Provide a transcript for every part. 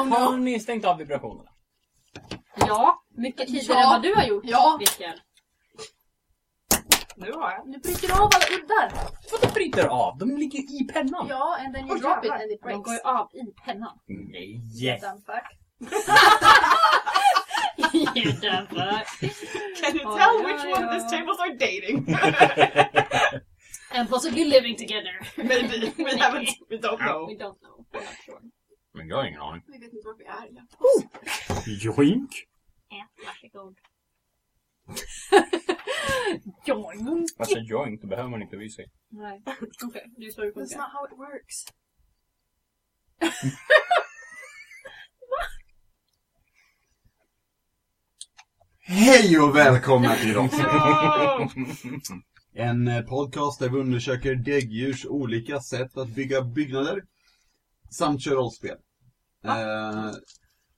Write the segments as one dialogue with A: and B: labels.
A: Om
B: Har
A: du...
B: ni stängt av vibrationerna?
C: Ja, mycket tidigare
A: Ja.
C: än vad du har gjort,
A: Ja.
C: Mikael. Nu har jag.
A: Du bryter av alla uddar!
B: Vadå bryter av? De ligger ju i pennan.
A: Ja, and then you
C: Oj,
A: drop it
C: jävlar.
A: and it
C: De
A: breaks.
C: går ju av i pennan.
B: Nej.
A: Dumb fuck.
C: You dumb fuck.
D: Can you
C: Oh,
D: tell
C: yeah,
D: which one of these
C: yeah.
D: tables are dating?
C: And possibly living together.
D: Maybe. We haven't. We don't know.
C: We don't know. We're not sure.
B: Men jag har ingen aning.
A: Vi vet inte vart vi är. Ja.
E: Joink!
C: Ät, varsågod. Ja,
B: Alltså jag inte behöver man inte bry sig.
C: Nej. Okej, du slår ju
A: That's
C: funkar.
A: not how it works.
E: Hej och välkomna till oss!
D: No!
E: En eh, podcast där vi undersöker däggdjurs olika sätt att bygga byggnader. Samt kör rollspel. Eh,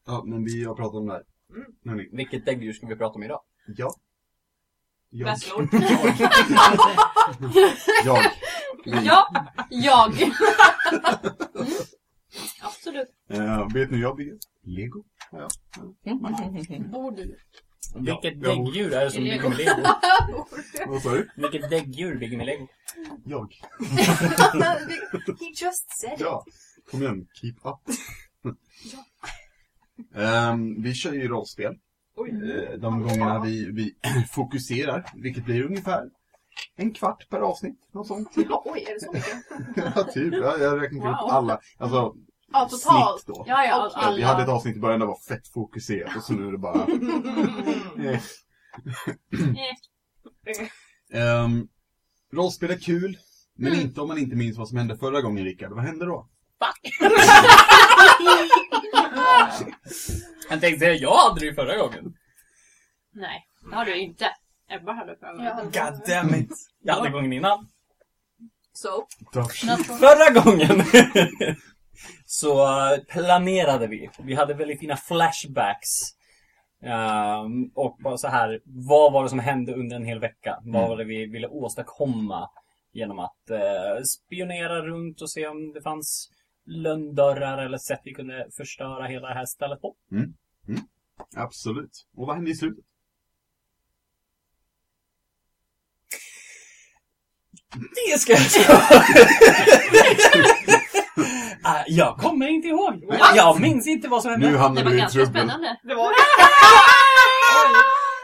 E: ja, men vi har pratat om det här.
D: Mm.
E: Hörni,
B: Vilket däggdjur ska vi prata om idag?
E: ja. Jag.
D: Vaslord.
E: jag.
C: Ja, jag. Absolut.
E: Eh, vet ni hur jag bygger? Lego.
A: Bor du?
B: Vilket
E: jag bor-
B: däggdjur är det som bygger
C: Lego.
B: med lego?
E: Vad sa du?
B: Vilket däggdjur bygger med lego?
E: Jag.
A: He just said it.
E: Ja. Kom igen, keep up. Ehm, vi kör ju rollspel.
D: Oj.
E: eh, de gångerna vi, vi fokuserar, vilket blir ungefär en kvart per avsnitt. Något sånt.
A: Ja, Oj, är det så mycket?
E: ja, typ. Jag, jag räknar
A: Wow.
E: upp alla. Alltså,
A: Ja, totalt.
E: snitt då. Eh,
C: Ja, ja,
A: Okej,
E: Vi
C: alla.
E: hade ett avsnitt i början där det var fett fokuserat och så nu är det bara...
B: Mm.
E: Eh. Ehm, rollspel är kul, men
C: Mm.
E: inte om man inte minns vad som hände förra gången, Rickard. Vad hände då?
B: Jag tänkte säga, jag hade det ju förra gången.
C: Nej, det har du inte. Ebba hade förra gången.
A: Ja.
B: God damn it. Jag hade gången innan.
A: So,
B: Förra gången så eh, planerade vi. Vi hade väldigt fina flashbacks. Ehm, och bara så här, vad var det som hände under en hel vecka? Vad var det vi ville åstadkomma genom att eh, spionera runt och se om det fanns lönndörrar eller sätt vi kunde förstöra hela det här stället på?
E: Absolut. Och vad hände i slutet?
B: Det ska jag säga. Ah, jag kommer inte ihåg. Jag minns inte vad som hände.
E: Nu
C: Det
E: hamnar
C: var
E: du i
C: ganska
E: trubbel.
C: spännande.
D: Det var...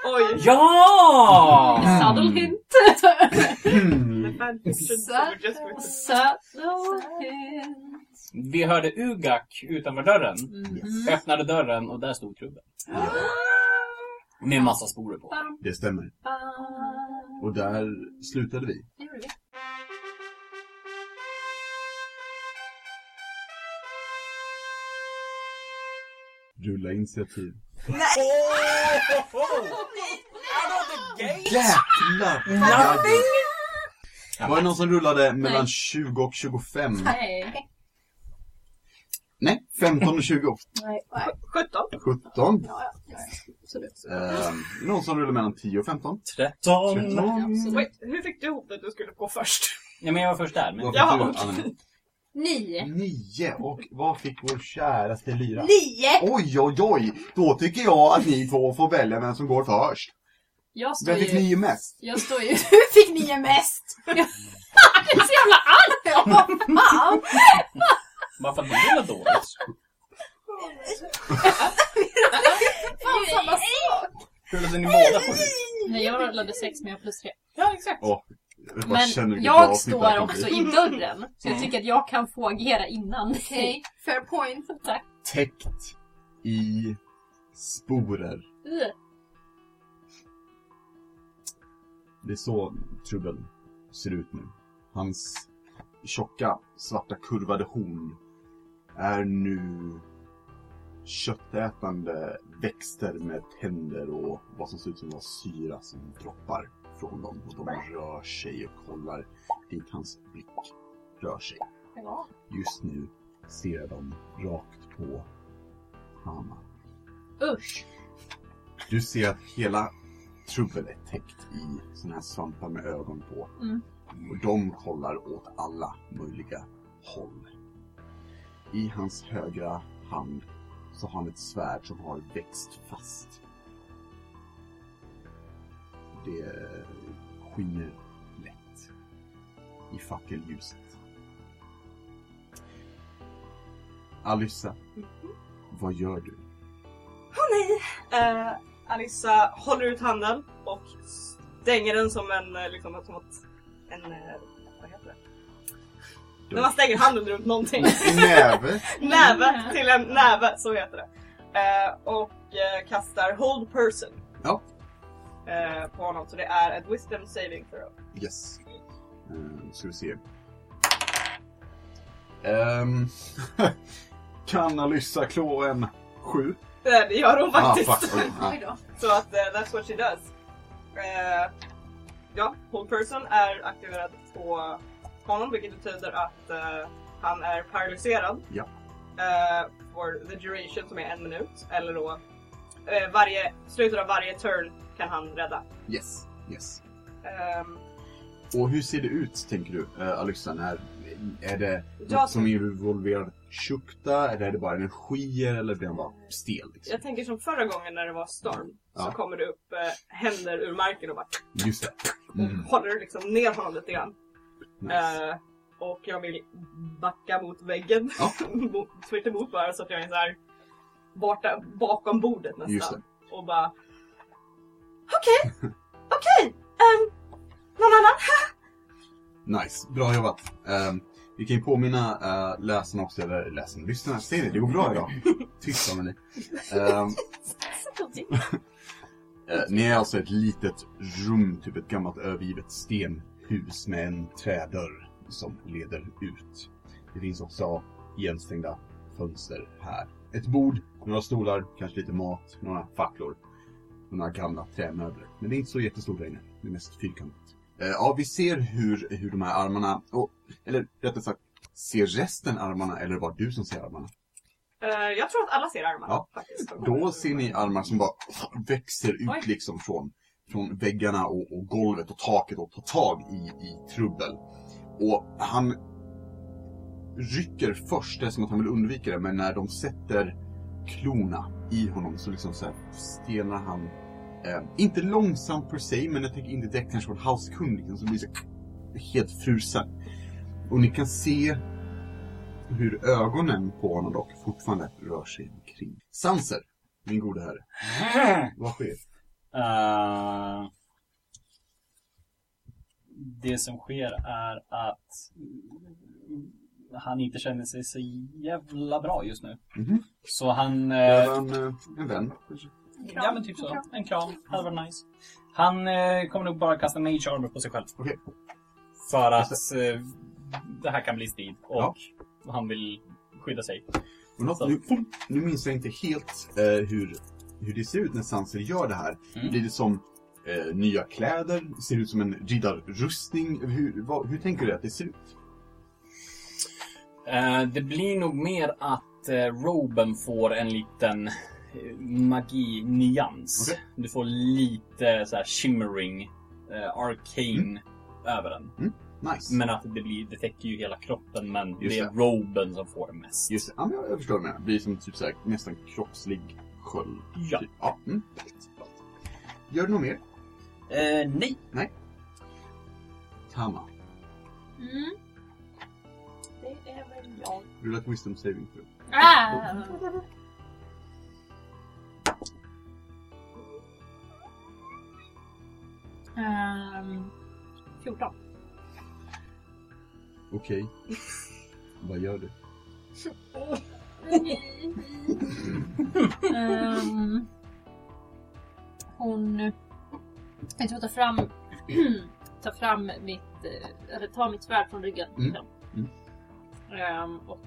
D: Oj.
B: Ja!
E: Mm.
C: Subtle hint.
D: The fanfiction that we just read.
C: Subtle hint.
B: Vi hörde Ugak utanför dörren.
C: Mhm.
B: Öppnade dörren och där stod klubben. Med massa sporer på.
E: Det stämmer.
C: Ah,
E: Och där slutade vi.
C: det gjorde vi.
E: Rulla initiativ.
B: Nothing!
E: Jävlar! Var det någon som rullade mellan
C: Nej.
E: 20 och 25?
C: Nej.
E: Nej, 15 och 20.
D: 17.
E: 17.
A: ja, ja. Absolut.
E: Ehm, någon som rullade mellan 10 och 15?
B: 13.
C: Mm.
E: 13.
D: Wait, hur fick du ihop att du skulle gå först?
B: Nej men jag var först där. Men...
D: Ja,
C: Nio.
E: 9 och vad fick vår käraste lyra?
A: Nio!
E: Oj, oj, oj! Då tycker jag att ni två får välja vem som går först.
C: Jag står
E: Vem fick
C: ju...
E: nio mest?
C: Jag står ju...
A: Du fick nio mest!
C: Jag är så jävla arg!
A: Ja, fan!
B: Varför att det var dåligt?
A: Fan, samma sak!
B: Rullade ni båda på
C: Nej, jag rullade sex men jag har plus tre.
B: Ja exakt.
E: Jag bara känner
C: Men
E: vilket bra
C: jag
E: avsnitt det
C: står
E: här kan
C: också
E: bli.
C: i dörren. Så jag tycker att jag kan få agera innan dig.
A: Okej, fair point.
C: Tack.
E: Täckt i sporer.
C: Ugh.
E: Det är så Trubbel ser ut nu. Hans tjocka, svarta, kurvade horn är nu köttätande växter med tänder och vad som ser ut som var syra som droppar från dem. Och de rör sig och kollar dit hans blick rör sig.
C: Ja.
E: Just nu ser de rakt på Hanna.
C: Usch.
E: Du ser att hela Trubbel är täckt i såna här svampar med ögon på.
C: Mm.
E: Och de kollar åt alla möjliga håll. I hans högra hand så har han ett svärd som har växt fast. Det eh, skiner lätt i fackelljuset. Alyssa, vad gör du?
F: Eh, Alissa håller ut handen och stänger den som en, eh, liksom, som att en, eh, vad heter det? När man stänger handen runt någonting.
E: Näve?
F: näve, till en näve, så heter det. Eh, och eh, kastar hold person.
E: Ja.
F: Eh, på honom, så det är ett wisdom saving throw.
E: Yes. Uh, ska vi se. Ehm, kan Alyssa klå en sju?
F: Eh, det gör hon faktiskt.
E: Ah, fuck. okej, ja.
A: Oj då.
F: Så att eh, that's what she does. Eh, ja, hold person är aktiverad på honom vilket betyder att eh, han är paralyserad.
E: Ja.
F: Eh, for the duration som är en minut. Eller då eh, varje, slutet av varje turn kan han rädda.
E: Yes. Yes.
F: Ehm,
E: Och hur ser det ut, tänker du, eh, Alyssa? När, är det
F: jag,
E: något som involverar Shukta, eller är det bara energier, eller blir han bara stel? Liksom?
F: jag tänker som förra gången när det var storm
E: Ja.
F: så kommer det upp eh, händer ur marken och bara
E: Just det. Mm.
F: håller liksom ner honom lite grann.
E: Nice.
F: Eh, och jag vill backa mot väggen.
E: Ja.
F: mot, tvärt emot bara så att jag är så här borta, bakom bordet nästan.
E: Just det.
F: Och bara... Okej, okej! ehm, någon annan?
E: Nice. Bra jobbat. Ehm, vi kan ju påminna eh, läsarna också, eller läsarna, lyssnarna. Ser ni? Det går bra idag. Tyst om ni. Ehm, Eh, ni är alltså ett litet rum, typ ett gammalt övergivet stenhus med en trädörr som leder ut. Det finns också igenstängda fönster här. Ett bord, några stolar, kanske lite mat, några facklor. och Några gamla trämöbler. Men det är inte så jättestort där inne. Det är mest fyrkantigt. Eh, ja, vi ser hur, hur de här armarna, och, eller rättare sagt, ser resten armarna eller var du som ser armarna?
F: Eh, jag tror att alla ser armarna
E: Ja.
F: faktiskt.
E: Då ser ni armar som bara växer ut
C: Oj.
E: liksom från, från väggarna och, och golvet och taket och tar tag i, i Trubbel. Och han rycker först, det är som att han vill undvika det, men när de sätter klorna i honom så liksom så här stelnar han. Eh, inte långsamt per se, men jag tänker inte direkt kanske på en housekung liksom, som blir så helt frusen. Och ni kan se hur ögonen på honom dock fortfarande rör sig omkring. Sanser, min gode herre. Vad sker?
B: Eh, det som sker är att han inte känner sig så jävla bra just nu.
E: Mhm.
B: Så han... eh,
E: Behöver han eh, en vän? kanske?
B: Ja men typ så. En kram. Det hade varit nice. Han eh, kommer nog bara kasta Mage Armor på sig själv.
E: Okej.
B: För att eh, det här kan bli strid och han vill skydda sig.
E: Men något, nu, nu minns jag inte helt eh, hur, hur det ser ut när Sanser gör det här.
B: Mm.
E: Blir det som eh, nya kläder? Ser det ut som en riddarrustning? Hur, vad, hur tänker du att det ser ut?
B: Eh, det blir nog mer att eh, Roben får en liten eh, magi-nyans.
E: Okej.
B: Du får lite så här shimmering, eh, arcane över den.
E: Nice.
B: Men att det, blir, det täcker ju hela kroppen men
E: Just
B: det är
E: det.
B: Roben som får det mest.
E: Just det, ja, men jag, jag förstår vad du menar. Det blir som typ så här, nästan kroppslig sköld.
B: Ja.
E: Typ. ja. Mm. ballt, ballt. Gör du något mer?
B: Eh, nej.
E: Tama,
C: Mm.
F: Det är väl jag.
E: rulla ett wisdom saving throw.
C: Ah. Ehm, 14.
E: Okej. Vad gör du?
C: Ehm, hon... Jag tror tar fram... tar fram mitt... eh, Eller tar mitt svärd från ryggen.
E: Mm.
C: liksom.
E: Mm.
C: Ehm, och...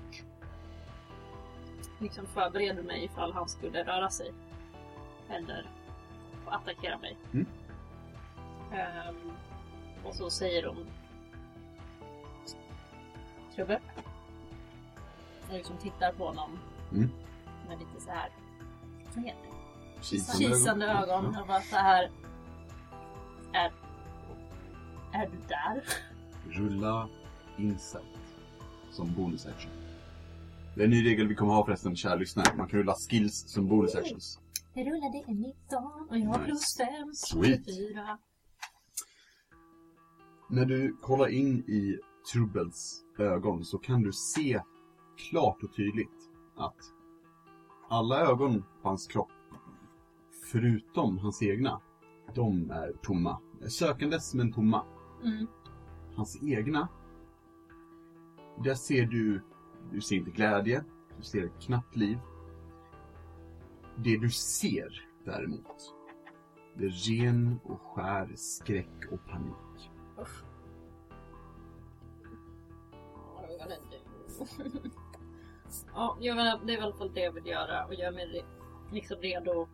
C: Liksom förbereder mig ifall han skulle röra sig. Eller attackera mig.
E: Mm.
C: Ehm, och så säger hon... Trubbel. Och liksom tittar på honom.
E: Mm.
C: Med lite så här... Vad heter det? kisande ögon och bara så här. Är, är du där?
E: Rulla insight som bonus action. Det är en ny regel vi kommer ha förresten, kära lyssnare. Man kan rulla skills som bonus actions.
C: Jag rullade en 19 och jag har
E: Nice.
C: plus 5.
E: Sweet.
C: Fyra.
E: När du kollar in i Trubbels ögon så kan du se klart och tydligt att alla ögon på hans kropp, förutom hans egna, de är tomma. Sökandes men tomma.
C: Mm.
E: Hans egna, där ser du, du ser inte glädje, du ser knappt liv. Det du ser däremot, det är ren och skär skräck och panik.
C: Ja, jag menar, det är i alla fall det jag vill göra och jag är mig re- liksom redo.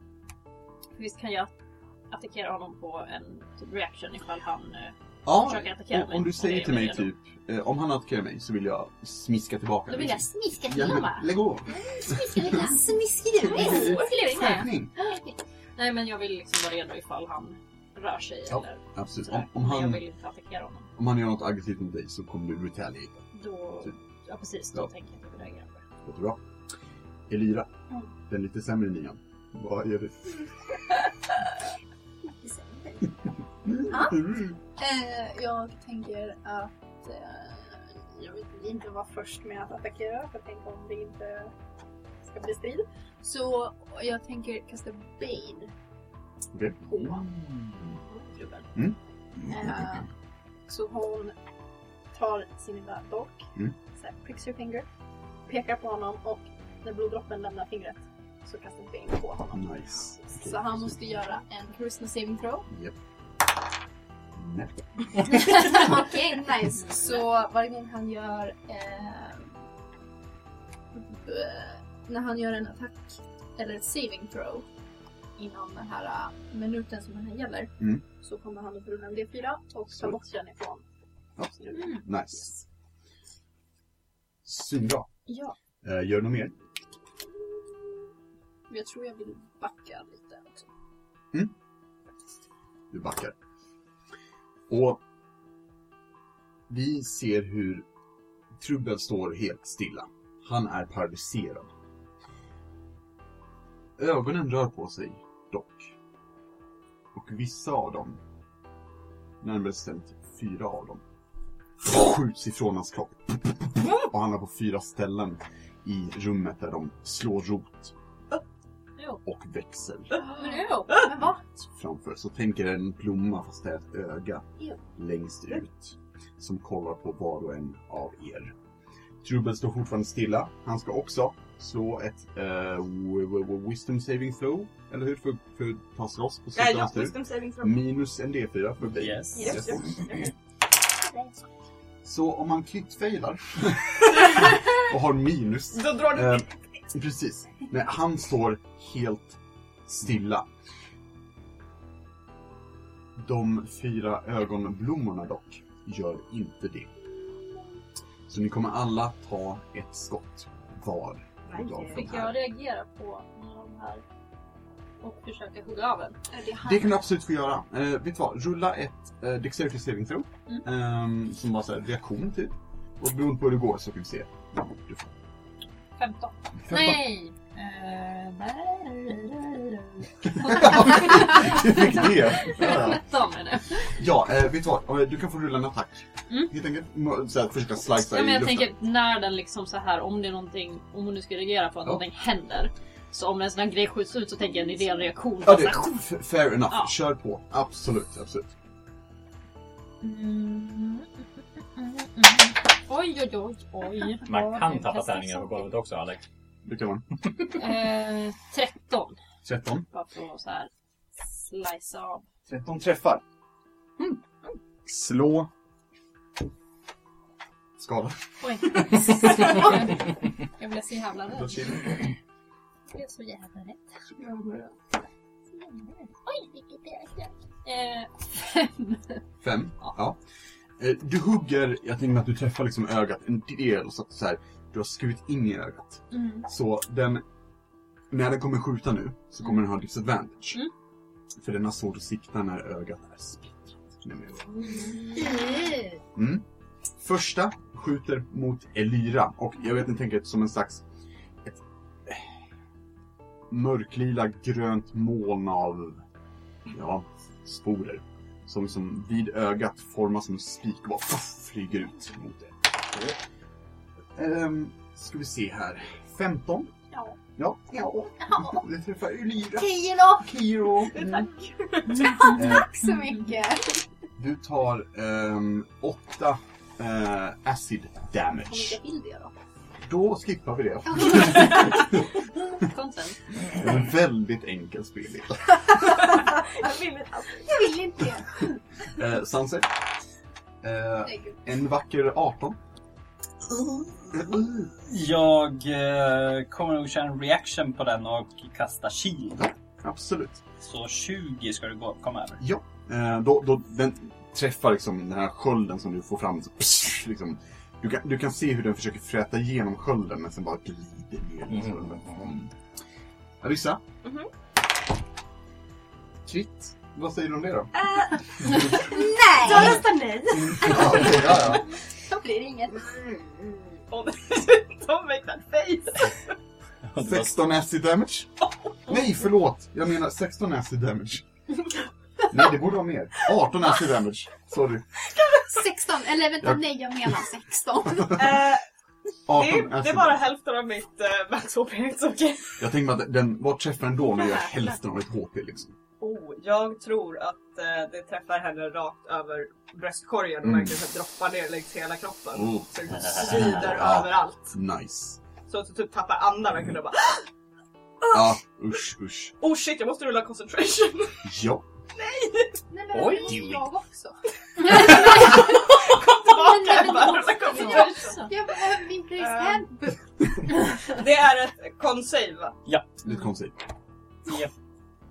C: Visst kan jag attackera honom på en typ reaction ifall han... eh,
E: Ja,
C: försöker attackera
E: om,
C: mig.
E: om du säger
C: Det är
E: till mig
C: väl
E: typ, eh, om han attackerar mig så vill jag smiska tillbaka. liksom.
C: Då vill jag smiska till
E: Ja, men
C: honom bara.
E: Lägg av!
C: Smiska lilla.
A: Smiskeri.
C: Smiska
E: Skärpning!
C: Nej men jag vill liksom vara redo ifall han rör sig
E: Ja,
C: eller
E: Absolut. Om,
C: sådär.
E: om,
C: Men jag
E: han,
C: vill inte attackera honom.
E: om han gör något aggressivt mot dig så kommer du retaliate.
C: Då...
E: Typ.
C: Ja precis, då
E: Ja.
C: tänker jag att jag vill reagera på det.
E: Låter bra. Elira,
C: Mm.
E: den lite sämre nian. Vad gör du?
A: Ja. Eh, jag tänker att eh, jag vill inte vara först med att attackera för tänk om det inte ska bli strid. Så jag tänker kasta Bane
E: Okej.
A: på klubben.
E: Mm.
A: Eh, så hon tar sin lilla dolk,
E: Mm.
A: så här, pricks your finger, pekar på honom och när bloddroppen lämnar fingret så kastar Bane på honom.
E: Nice. Okej,
A: Så han
E: precis.
A: måste göra en charisma saving throw.
E: Japp. Nej.
A: Okej, nice. Så varje gång han gör... Eh, b- när han gör en attack eller ett saving throw inom den här eh, minuten som den här gäller
E: Mm.
A: så kommer han att rulla en D4 och ta
E: Sweet.
A: bort den ifrån.
E: Absolut. Nice. Svinbra.
A: Ja,
E: Eh, Gör du något mer?
A: men jag tror jag vill backa lite också.
E: Du backar. Och vi ser hur Trubbel står helt stilla. Han är paralyserad. Ögonen rör på sig, dock. Och vissa av dem, närmare bestämt fyra av dem, skjuts ifrån hans kropp.
F: Eh,
E: Och hamnar på fyra ställen i rummet där de slår rot och växer.
C: Men jo!
A: Men va?
E: framför så tänker en blomma fast det är ett öga
A: Ja.
E: längst ut som kollar på var och en av er. Trubbel står fortfarande stilla. Han ska också slå ett eh, w- w- wisdom saving throw, eller hur? För, för att ta sig loss på
F: Ja,
E: slutet av
F: ja,
E: hans tur.
F: wisdom saving throw.
E: Minus en D4 för dig.
B: Yes.
F: Yes, yes.
E: Så om han klittfailar och har minus
F: Då drar du
E: Eh, precis. Nej, han står helt stilla. De fyra ögonblommorna dock gör inte det. Så ni kommer alla ta ett skott var. utav de
C: Fick
E: här.
C: jag reagera på någon av de här och försöka hugga av en?
A: Är det han?
E: Det kan du absolut få göra. Eh, vet du vad? Rulla ett eh, Dexterity Saving Throw.
C: Mm.
E: Ehm, som bara såhär reaktion typ. Och beroende på hur det går så kan vi se. Du får
C: 15.
E: femton.
C: Nej! Eh, nej.
E: Du fick det! Ja.
C: 13 är det.
E: Ja, eh, vet du vad? Eh, Du kan få rulla en attack.
C: Mm.
E: Helt enkelt må- så här, försöka slicea
C: Ja, men
E: i
C: jag
E: luften.
C: tänker när den liksom så här om det är någonting, om hon nu ska reagera på att
E: Ja.
C: någonting händer. Så om en sån här grej skjuts ut så tänker jag att det är en reaktion.
E: Ja,
C: Fast
E: det,
C: så här,
E: f- fair enough.
C: Ja.
E: Kör på. Absolut, absolut.
C: Mm. Oj, oj, oj, oj.
B: Man kan
C: Ja,
B: tappa
C: jag
B: tärningar på
C: testar
B: golvet också, Alex.
E: Det kan man.
C: så. Eh, 13.
E: 13.
C: Bara för att så här slicea av.
E: 13 träffar. Slå. Skada.
C: Oj. jag blev så jävla
E: Då
C: rädd.
E: chill.
C: Jag blev så jävla rädd. Så jävla rädd. Oj, vilket jäkla... Eh, fem.
E: Fem.
C: Ja.
E: Ja. Eh, Du hugger, jag tänker mig att du träffar liksom ögat en del så att så här, du har skurit in i ögat.
C: Mm.
E: Så den, när den kommer skjuta nu så kommer den ha disadvantage.
C: Mm.
E: För den har svårt att sikta när ögat är splittrat. nämligen.
A: Eh,
E: Första skjuter mot Elira och jag vet inte, tänker som en slags mörklila grönt moln av ja, sporer. Som, som vid ögat formas som en spik och bara puff, flyger ut mot det. Ehm, ska vi se här. 15?
A: Ja.
E: Ja, ja. Det träffar Elyra.
A: Tio då!
E: Kiro.
F: Tack.
E: Eh,
A: Tack så mycket!
E: du tar 8 acid
A: Kommer
E: damage.
A: jag till det då?
E: Då skippar vi det.
C: Content.
E: Det är en väldigt enkel spellista.
F: Jag vill inte alls.
A: Jag vill inte det!
E: Eh, Sunset. Eh,
A: Nej, gud.
E: en vacker 18.
B: Jag eh, kommer nog köra en reaction på den och kasta shield.
E: Absolut.
B: Så 20 ska du gå, komma över.
E: Eh, då, då, den träffar liksom den här skölden som du får fram. Så, psh, liksom. du, kan, du kan se hur den försöker fräta igenom skölden men sen bara glider ner.
B: Mm.
E: Mm. Arissa.
F: Mhm.
E: Krit. Vad säger du om det då?
A: Nej!
C: röstar nej!
E: ja, okej, ja, ja.
A: Då blir det inget.
F: Och Don't make that face!
E: 16 acid damage. Nej, förlåt. Jag menar 16 acid damage. Nej, det borde vara mer. 18 acid damage. Sorry.
A: 16, eller vänta,
E: Ja.
A: nej jag menar 16.
F: Eh,
E: 18
F: det, är, det är
E: acid
F: bara
E: damage.
F: hälften av mitt uh, max HP, så okej.
E: Jag tänker mig att den, vad träffar den då när jag gör
F: Här.
E: hälften av ett HP liksom?
F: Oh, jag tror att eh, det träffar henne rakt över bröstkorgen och
E: Mm.
F: verkligen så här droppar ner längs hela kroppen.
E: Oh.
F: Så det svider
E: Ja.
F: överallt.
E: Nice.
F: Så att du typ tappar andan verkligen och bara
E: Ja, usch, usch.
F: Oh shit, jag måste rulla concentration!
E: Ja.
A: Nej, men
B: Oj.
A: det är jag också.
F: Kom tillbaka!
A: men-
F: bara, rulla concentration.
A: Jag behöver min
F: Ehm.
A: place handbook.
F: det är ett con-save va?
E: Lite konstigt.
B: 10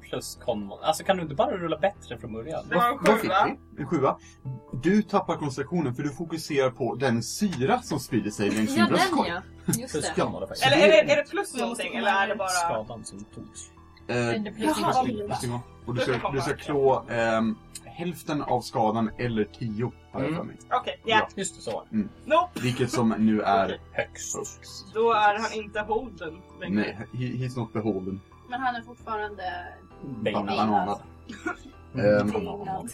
B: plus konmon. Alltså kan du inte bara rulla bättre från början?
F: Det var en
E: Vad fick
F: sjua.
E: vi? En sjua. Du tappar koncentrationen för du fokuserar på den syra som sprider sig längs din
C: Ja, den
E: bröstkorg.
C: ja. Just
B: Plus
C: det.
B: kon var det faktiskt.
F: Eller är det, är det plus
C: Jag måste
F: någonting
C: komma
F: eller är det bara...
B: Skadan som togs.
E: Eh,
C: Men det plus
A: Jaha.
C: ingenting.
E: Och du ska, du ska klå ehm, hälften av skadan eller 10 har jag för mig.
F: Okej, ja.
E: Ja.
B: Just det, så var det.
F: Nope,
E: Vilket som nu är
F: Okej.
B: Högst.
E: högst.
F: då är han inte holden längre.
E: Nej, he, he's not beholden.
A: Men han är fortfarande
B: Beinad.
E: Bananad.
B: Mm.
E: Ehm,
A: pinglad.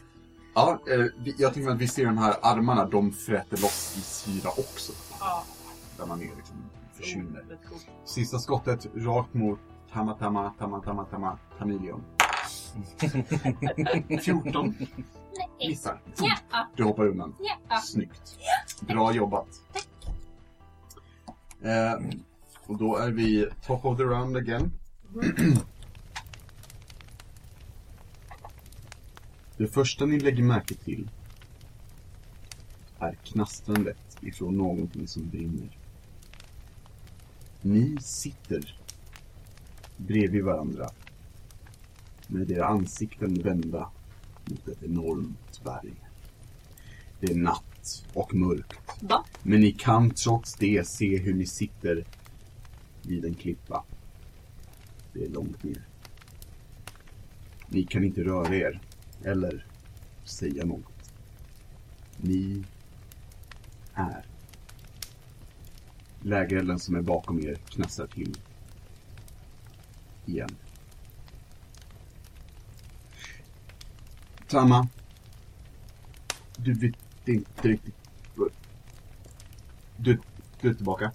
E: Ja, eh, vi- jag tänker att vi ser de här armarna, de fräter loss i syra också.
F: Ja.
E: Där man är liksom försvinner.
F: Lite coolt.
E: Sista skottet rakt mot Tama Tama Tama Tama Tama Tamilion. 14.
C: Nej.
E: Missar.
C: Ja,
E: Du hoppar undan.
C: ja.
E: Snyggt. Bra jobbat. Eh, och då är vi top of the round again. Det första ni lägger märke till är knastrandet ifrån någonting som brinner. Ni sitter bredvid varandra med era ansikten vända mot ett enormt berg. Det är natt och mörkt.
C: Va?
E: Men ni kan trots det se hur ni sitter vid en klippa. Det är långt ner. Ni kan inte röra er eller säga något. Ni är. Lägerelden som är bakom er knastrar till. Igen. Tama. Du vet inte riktigt. Du, du är tillbaka.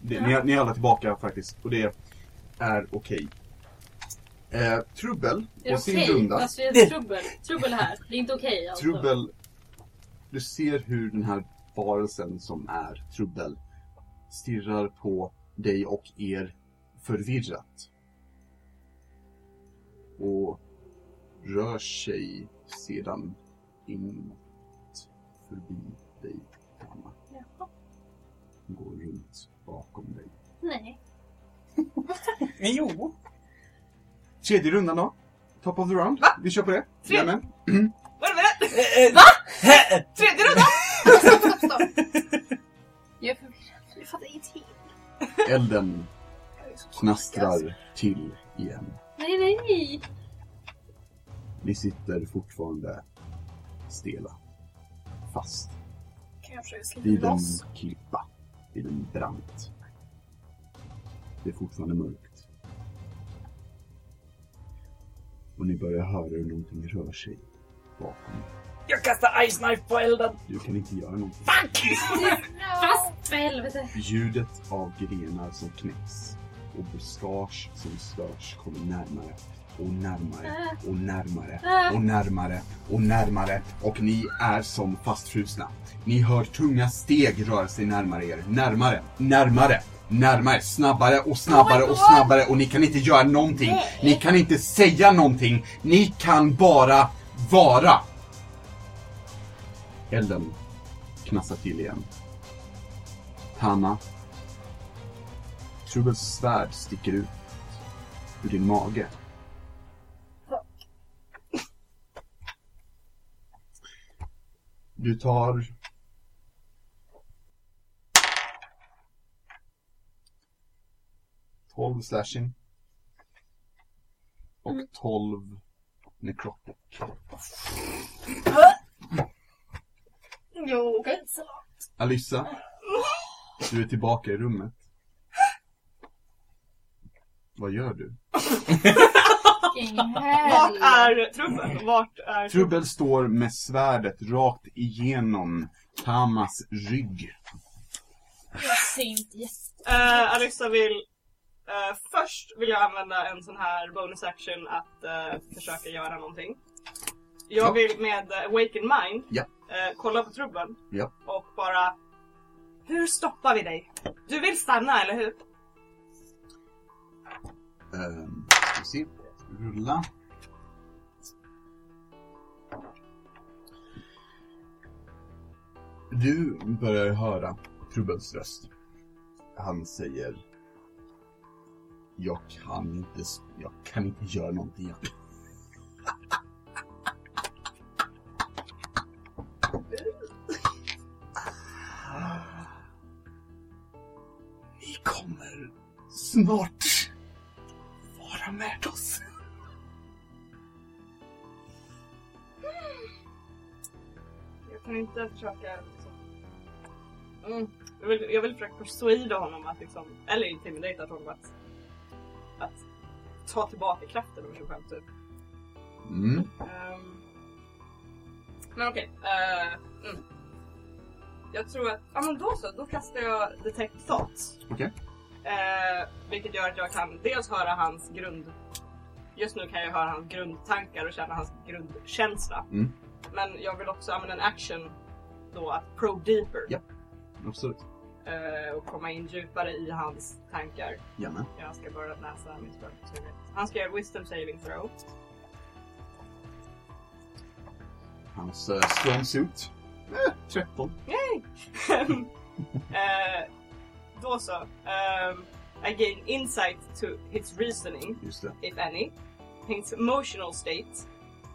E: Det, ni, är- ni är alla tillbaka faktiskt. Och det är okej. Eh, trubbel
C: Är det
E: och sin
C: okej?
E: runda.
C: Fast vi är trubbel. Trubbel här. Det är inte okej alltså.
E: Trubbel, du ser hur den här varelsen som är Trubbel stirrar på dig och er förvirrat. Och rör sig sedan inåt förbi dig, Anna.
C: Jaha.
E: Går runt bakom dig.
C: Nej.
B: Men Eh, jo.
E: Tredje rundan då. Top of the round. Vi kör på det.
F: Tre.
E: Jajamän.
F: Vad är det?
B: Va?
F: Tredje rundan!
A: Stopp, stopp, stopp.
C: Jag är förvirrad.
A: Jag fattar ingenting.
E: Elden knastrar till igen.
C: Nej, nej.
E: Ni sitter fortfarande stela. Fast
A: Kan jag försöka slita mig
E: vid en
A: loss?
E: klippa. Vid en brant. Det är fortfarande mörkt. och ni börjar höra hur någonting rör sig bakom er.
B: Jag kastar Ice Knife på elden!
E: Du kan inte göra någonting.
B: Fuck!
C: Fast för helvete!
E: Ljudet av grenar som knäcks och buskage som störs kommer närmare och närmare och närmare och närmare och närmare och ni är som fastfrusna. Ni hör tunga steg röra sig närmare er. Närmare, närmare, närmare, snabbare och snabbare och snabbare och ni kan inte göra någonting. Ni kan inte säga någonting. Ni kan bara vara. Elden knassar till igen. Hanna. Trubbels svärd sticker ut ur din mage. Du tar... Tolv slashing. Och tolv necrotic.
A: Jo, okej. så.
E: Alyssa, du är tillbaka i rummet. Vad gör du?
F: Vart är trubbel? Vart är
E: Trubbel står med svärdet rakt igenom Tamas rygg.
C: Synt, yes.
F: Eh, Alyssa vill... eh, först vill jag använda en sån här bonus action att eh, försöka göra någonting.
E: Ja.
F: Jag vill med uh, Awaken Mind
E: Ja.
F: eh, kolla på trubben
E: Ja.
F: och bara... Hur stoppar vi dig? Du vill stanna, eller hur?
E: Ehm, ska vi se. Rulla. Du börjar höra Trubbels röst. Han säger Jag kan inte, s- jag kan inte göra någonting. Jag Ni kommer snart vara med oss.
F: Jag kan inte försöka... Liksom. Mm. Jag, vill, jag vill försöka persuada honom att liksom... Eller intimidata honom att... Att ta tillbaka kraften över sig själv, typ.
E: Mm.
F: Ehm, men okej. eh, mm. Jag tror att, ja men då så, då kastar jag Detect Thoughts.
E: Okej.
F: Eh, vilket gör att jag kan dels höra hans grund... Just nu kan jag höra hans grundtankar och känna hans grundkänsla.
E: Mm.
F: Men jag vill också använda en action då att pro deeper
E: Ja. Absolut.
F: eh, och komma in djupare i hans tankar.
E: Gärna.
F: Jag ska bara läsa min språk. så jag vet. Han ska göra wisdom saving throw.
E: Hans uh, strong suit. Eh, 13.
F: Eh, då så. Um, I gain insight to his reasoning,
E: Just det.
F: if any, his emotional state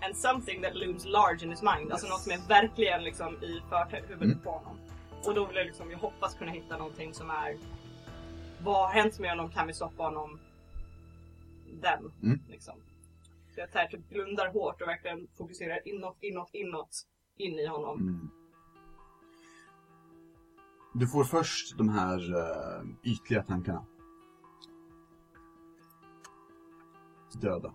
F: and something that looms large in his mind. Alltså
E: Yes.
F: något som är verkligen liksom i förhuvudet
E: Mm.
F: på honom. Och då vill jag liksom, jag hoppas kunna hitta någonting som är vad har hänt med honom? Kan vi stoppa honom? Den.
E: Mm.
F: Liksom. Så jag tar, typ, blundar hårt och verkligen fokuserar inåt, inåt, inåt. In i honom.
E: Mm. Du får först de här eh, ytliga tankarna. Döda.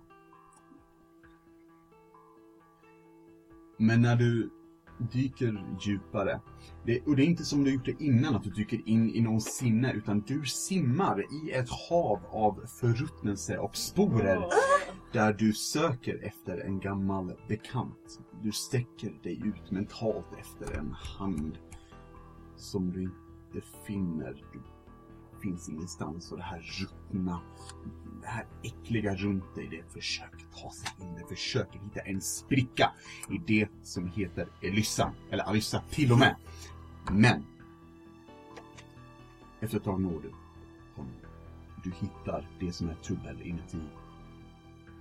E: Men när du dyker djupare, det, och det är inte som du gjort det innan att du dyker in i någon sinne, utan du simmar i ett hav av förruttnelse och sporer där du söker efter en gammal bekant. Du sträcker dig ut mentalt efter en hand som du inte finner. Du finns ingenstans och det här ruttna, det här äckliga runt dig, det försöker ta sig in, det försöker hitta en spricka i det som heter Elyssa, eller Alyssa till och med. Men! Efter ett tag når du honom. Du hittar det som är trubbel inuti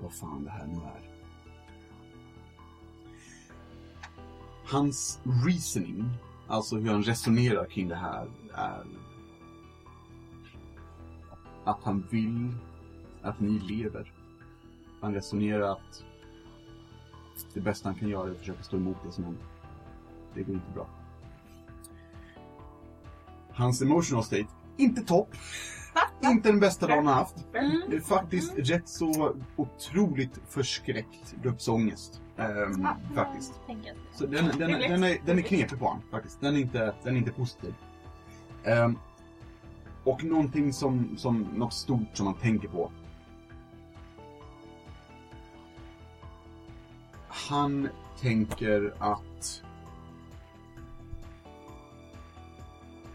E: vad fan det här nu är. Hans reasoning, alltså hur han resonerar kring det här, är att han vill att ni lever. Han resonerar att det bästa han kan göra är att försöka stå emot det som händer. Det går inte bra. Hans emotional state, inte topp. Inte den bästa dagen han haft. Det är faktiskt rätt så otroligt förskräckt gruppsångest. Ehm,
A: Ah. Mm,
E: faktiskt.
C: Tänker att-
E: Så den, den, den, är, den är knepig på honom faktiskt. Den är inte, den är inte positiv. Ehm, och någonting som, som, något stort som man tänker på. Han tänker att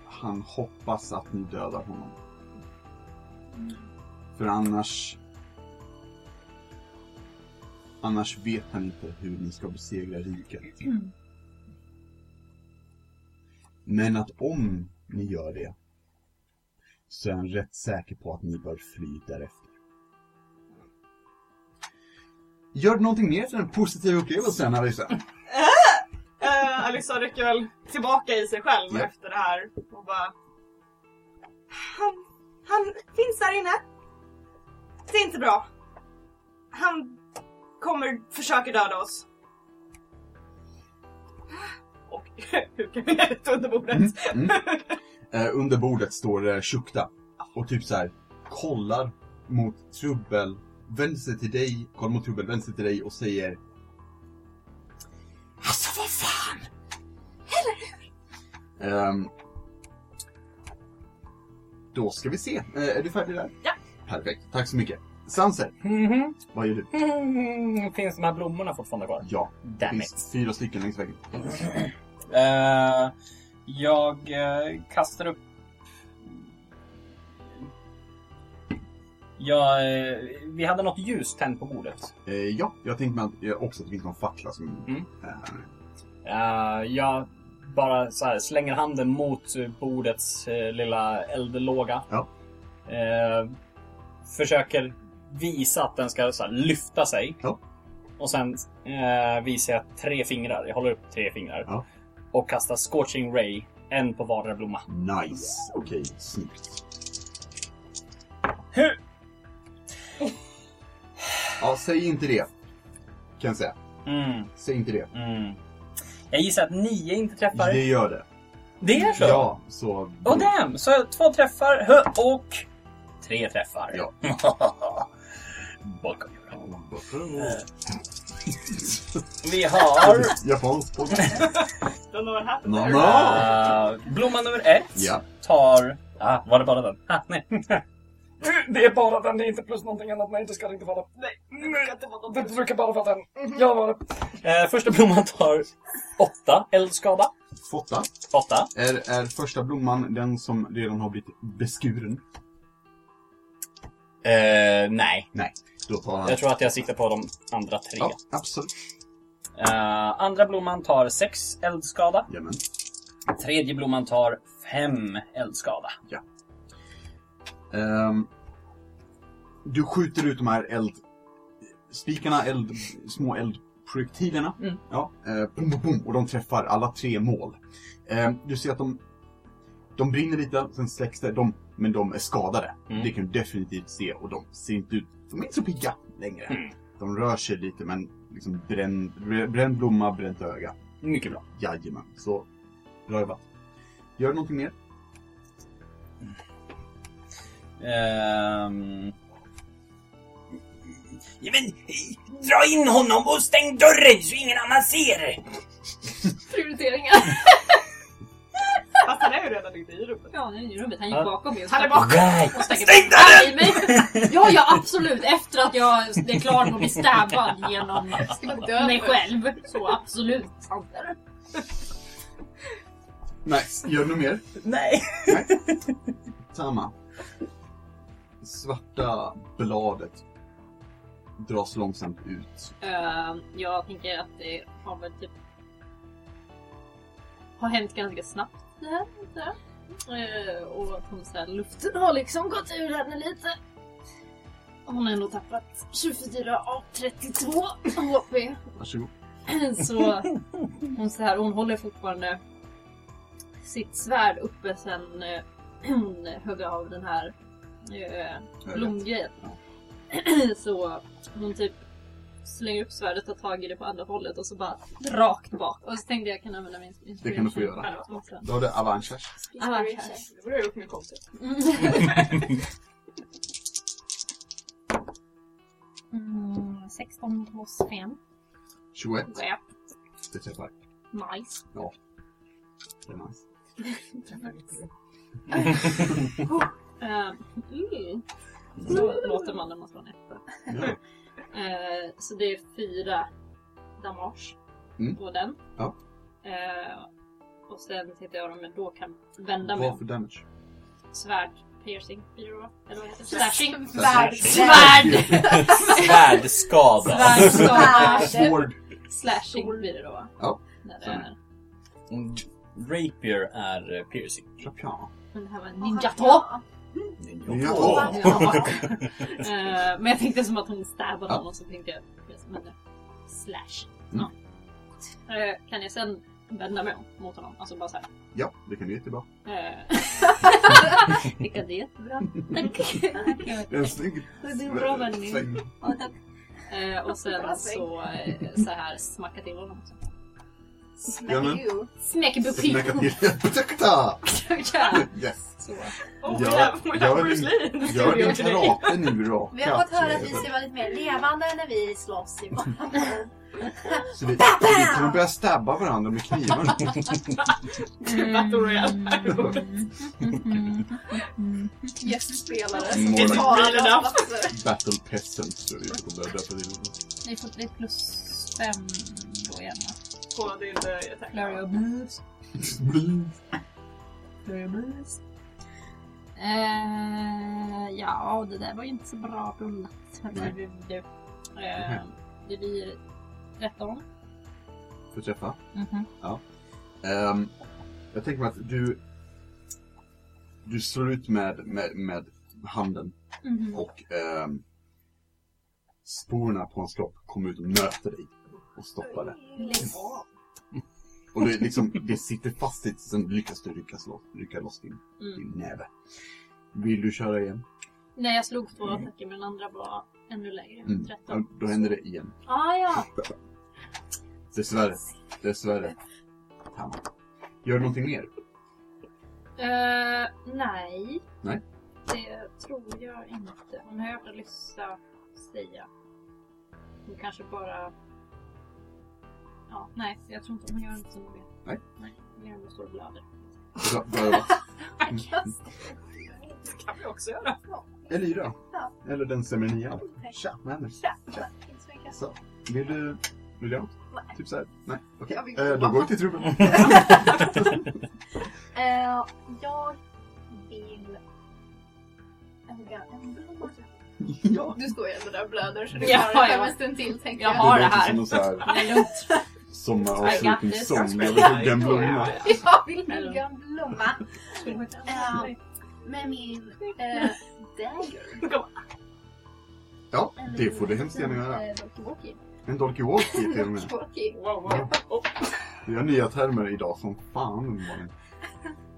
E: han hoppas att ni dödar honom. För annars Annars vet han inte hur ni ska besegra riket. Men att om ni gör det så är han rätt säker på att ni bör fly därefter. Gör du någonting mer för den positiva upplevelsen, Alissa?
F: Eh, Alyssa rycker väl tillbaka i sig själv
E: Ja.
F: efter det här och bara... Han, han finns där inne. Det är inte bra. Han kommer försöka döda oss. Och hukar ner ett under bordet.
E: Mm, mm. Eh, under bordet står det Shukta och typ så här kollar mot Trubbel, vänder sig till dig, kollar mot Trubbel, vänder sig till dig och säger Alltså vad fan! Eller hur? då ska vi se. Eh, är du färdig där?
F: Ja.
E: Perfekt, tack så mycket. Sanser,
B: Mhm.
E: vad gör du?
B: Mhm. Finns de här blommorna fortfarande kvar?
E: Ja, det
B: Damn it.
E: finns fyra stycken längs väggen.
B: Eh, jag eh, kastar upp... Ja, eh, vi hade något ljus tänt på bordet.
E: Eh, ja, jag tänkte mig att, eh, också att det finns någon fackla som...
B: Mm.
E: Eh,
B: Eh, jag bara så här, slänger handen mot eh, bordets eh, lilla eldlåga.
E: Ja.
B: Eh, försöker visa att den ska så här, lyfta sig.
E: Ja.
B: Och sen eh, visar jag tre fingrar. Jag håller upp tre fingrar.
E: Ja.
B: Och kastar Scorching Ray, en på vardera blomma.
E: nice, okej, snyggt.
B: Hur?
E: Ja, säg inte det. Kan jag säga.
B: Mm,
E: Säg inte det.
B: mm. Jag gissar att nio inte träffar.
E: Det gör det.
B: Det är så?
E: Ja, så...
B: Oh damn! Så två träffar hö, och tre träffar.
E: Ja.
B: Bakom. Vi har
E: Japansk podd.
F: Don't know what happened
E: No,
F: there.
E: no.
B: eh, blomma nummer ett.
E: Ja.
B: Tar... Ah, var det bara den? Ah, nej. Det är bara den, det är inte plus någonting annat. Nej, det ska det inte vara.
F: Nej,
B: Nej.
F: det var
B: Det
F: något-
B: brukar bara vara den. Jag var det. Eh, första blomman tar åtta eldskada.
E: Fotta.
B: Åtta.
E: Är, är första blomman den som redan har blivit beskuren?
B: Eh, nej,
E: Då tar han...
B: jag tror att jag siktar på de andra tre.
E: Ja, absolut.
B: Eh, andra blomman tar sex eldskada.
E: Jajamän.
B: Tredje blomman tar fem eldskada.
E: Ehm, du skjuter ut de här eldspikarna, eld, små eldprojektilerna.
B: Mm.
E: Ja, eh, pum, pum, pum, och de träffar alla tre mål. Ehm, du ser att de, de brinner lite, sen släcks det, de, men de är skadade.
B: Mm.
E: Det kan du definitivt se och de ser inte ut, de är inte så pigga längre.
B: Mm.
E: De rör sig lite men liksom bränn, brä- bränd blomma, bränt öga.
B: Mycket bra.
E: Jajamän, så bra jobbat. Gör du någonting mer?
B: Ehm... Ja, men, dra in honom och stäng dörren så ingen annan ser!
C: Prioriteringar!
F: Fast han är ju redan inte i rummet.
C: Ja, nu är i rummet. Han gick
B: Ja.
C: bakom mig och
F: Han är
C: stack-
F: bakom.
B: Right.
C: och stack ett
B: Stäng
C: arg i mig. Ja, ja absolut. Efter att jag är klar med att bli stabbad genom
A: Ska man dö
C: mig
A: först?
C: själv. Så absolut. Sanser.
E: Nej, gör du något mer?
B: Nej!
E: Samma. Svarta bladet dras långsamt ut.
C: Eh, jag tänker att det har väl typ har hänt ganska snabbt det här. antar jag. Eh, och att hon så här, luften har liksom gått ur henne lite. Hon har ändå tappat 24 av 32 HP.
E: Varsågod.
C: Så hon, så här, hon håller fortfarande sitt svärd uppe sen eh, hon högg av den här eh, blomgrejen. Så hon typ slänger upp svärdet, tar tag i det på andra hållet och så bara rakt bak. Och så tänkte jag kan använda min
E: Det kan du få göra.
C: inspiration själv också.
E: Då har du Avanchas.
C: Ah, okej.
F: Det borde jag gjort med kompis.
C: Mm. Mm, 16 plus 5.
E: 21.
C: Ja,
E: Det träffar.
C: nice.
E: Det är nice.
C: Eh, mm. Så låter man när man slår en etta.
E: Ja.
C: Eh, så det är fyra damage
E: Mm.
C: på den.
E: Ja.
C: Eh, och sen tittar jag om jag då kan vända mig
E: Vad
C: om.
E: för damage?
C: Svärd piercing blir det då? Eller vad heter det? Slashing?
A: Värld!
C: Svärd!
B: Svärdskada.
A: Svärd!
E: Sword.
C: Slashing blir det då va?
E: Ja.
C: När det är.
B: Mm, Rapier är eh, piercing.
E: Chapia.
C: Men det här var en ninjatå.
E: Ja.
C: Eh, men jag tänkte som att hon stabbade
E: Ja.
C: honom så tänkte jag yes, men, eh, slash.
E: Mm.
C: Ja. Eh, kan jag sen vända mig om mot honom? Alltså bara såhär.
E: Ja, det kan du jättebra.
C: Vilka Eh. det är jättebra. Tack.
E: Det är en snygg
C: Det är en bra vändning.
E: sväng.
C: Eh, och sen så, eh, så här smacka till honom. också.
E: Jamen.
A: Smack
C: Smäck i
E: Snacka
C: buffé.
E: till. Ursäkta!
C: Ja.
E: Yes.
C: Så.
F: Oh,
E: Ja,
F: ja,
E: ja,
F: ja, Bruce Lee!
E: Gör
F: Gjorde
E: din
F: jag till dig.
E: karate nu raka.
A: Vi har fått höra att vi ska vara lite mer levande när vi slåss i vår-
E: Så vi, vi kommer börja stabba varandra med knivar.
C: Mm.
F: Battle Royale.
C: Mm.
A: gästspelare
E: Måla.
A: som tar
F: Bilden
A: alla
F: av-
A: platser.
E: Battle peasants tror jag vi kommer börja döpa till.
C: Ni får det plus fem då igen va?
F: På din eh, attack.
C: Flurry of moves. Flurry of moves. Eh, ja, det där var ju inte så bra rullat. hörru du. Eh, Det blir 13.
E: För träffa.
C: Mhm.
E: Ehm, jag tänker mig att du... Du slår ut med, med, med handen
C: Mhm.
E: och ehm, sporerna på hans kropp kommer ut och möter dig och stoppar det. Och det, är liksom, det sitter fast i sen lyckas du ryckas loss, rycka loss din,
C: Mm.
E: din näve. Vill du köra igen?
C: Nej, jag slog två attacker men den andra var ännu lägre.
E: Mm.
C: 13.
E: Ja, Då händer det igen.
C: Ah, ja.
E: Dessvärre. Dessvärre. Fan. Gör du någonting mer?
C: Eh, nej.
E: Nej.
C: Det tror jag inte. Hon hörde Lyssa säga. Hon kanske bara... Ja, nej. Jag tror inte hon gör inte så mycket.
E: Nej.
C: Nej, hon gör ändå stora blöder.
E: Bra, bra,
F: Det kan vi också göra.
E: Elira.
A: Ja.
E: Eller den semenia.
A: Tack.
E: Tja, med henne.
A: Tja, inte så mycket.
E: Så, vill du... Vill jag?
A: Nej.
E: Typ såhär? Nej? Okej.
A: Jag vill
E: Eh, då
A: komma.
E: går vi till trubben.
A: Eh, jag vill hugga en blomma.
E: ja.
A: Du står ju ändå där och blöder så du
C: Ja,
A: klarar det
C: ja.
A: en stund till tänker
C: Jag
A: jag.
C: har- det
E: låter
C: här.
E: Som någon såhär
C: Det är lugnt.
E: sommaravslutningssång. Jag vill
F: Ja,
E: hugga en blomma.
A: Jag vill hugga en blomma eh, med min eh, dagger.
E: Ja, det får du hemskt gärna göra.
A: Eh,
E: En dolky-walkie till och med.
A: Tråkig.
F: Wow, wow. Oh,
E: Vi har nya termer idag som fan uppenbarligen.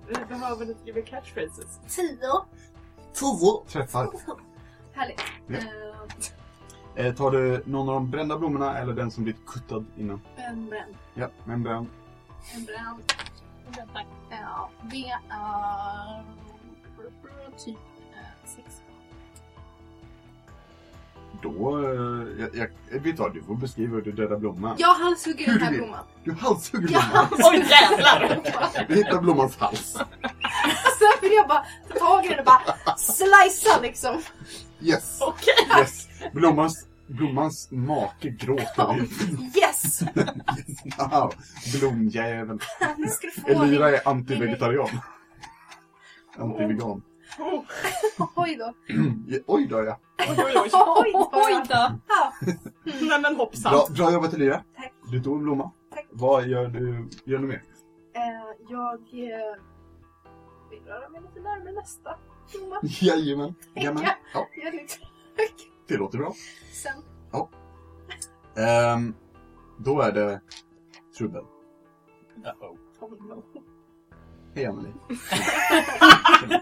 F: vi behöver lite give catchphrases.
A: Tio.
E: Tio träffar.
A: Härligt.
E: Ja.
A: Eh,
E: Eh, tar du någon av de brända blommorna eller den som blivit kuttad innan?
A: en bränd.
E: Ja, med en bränd.
A: En bränd.
C: Tack.
A: Ja, det är typ eh, sex.
E: Då... Eh, jag, jag, vet du vad, du får beskriva hur du dödar blomman.
A: Jag halshugger den här
E: Hur?
A: blomman.
E: Du halshugger
A: Jag
E: blomman.
A: halshugger
F: Oj, jävlar!
A: den här blomman.
E: Du hittar blommans hals.
A: Sen vill Alltså, jag bara ta tag i den och bara slicea liksom.
E: Yes.
F: Okej.
E: Yes. Blommans, blommans make gråter.
A: Yes!
E: Wow. Blomjäveln.
A: Nu ska du få
E: Elira
A: din...
E: är antivegetarian. Antivegan.
A: Oj då.
E: Oj då ja.
F: Oh, Oj, oj, oj.
A: Oj då.
C: Oj då!
F: Nej men hoppsan.
E: Bra, bra jobbat Elira.
A: Tack.
E: Du tog en blomma.
A: Tack.
E: Vad gör du, gör du mer?
A: Eh, jag eh, vill röra mig lite närmare nästa blomma.
E: Jajamän. Jajamän.
A: Ja.
E: Ja,
A: Jag är lite
E: det låter bra.
A: sen.
E: Ehm, då är det trubbel.
B: Uh-oh.
A: Oh no.
E: Hej Emelie.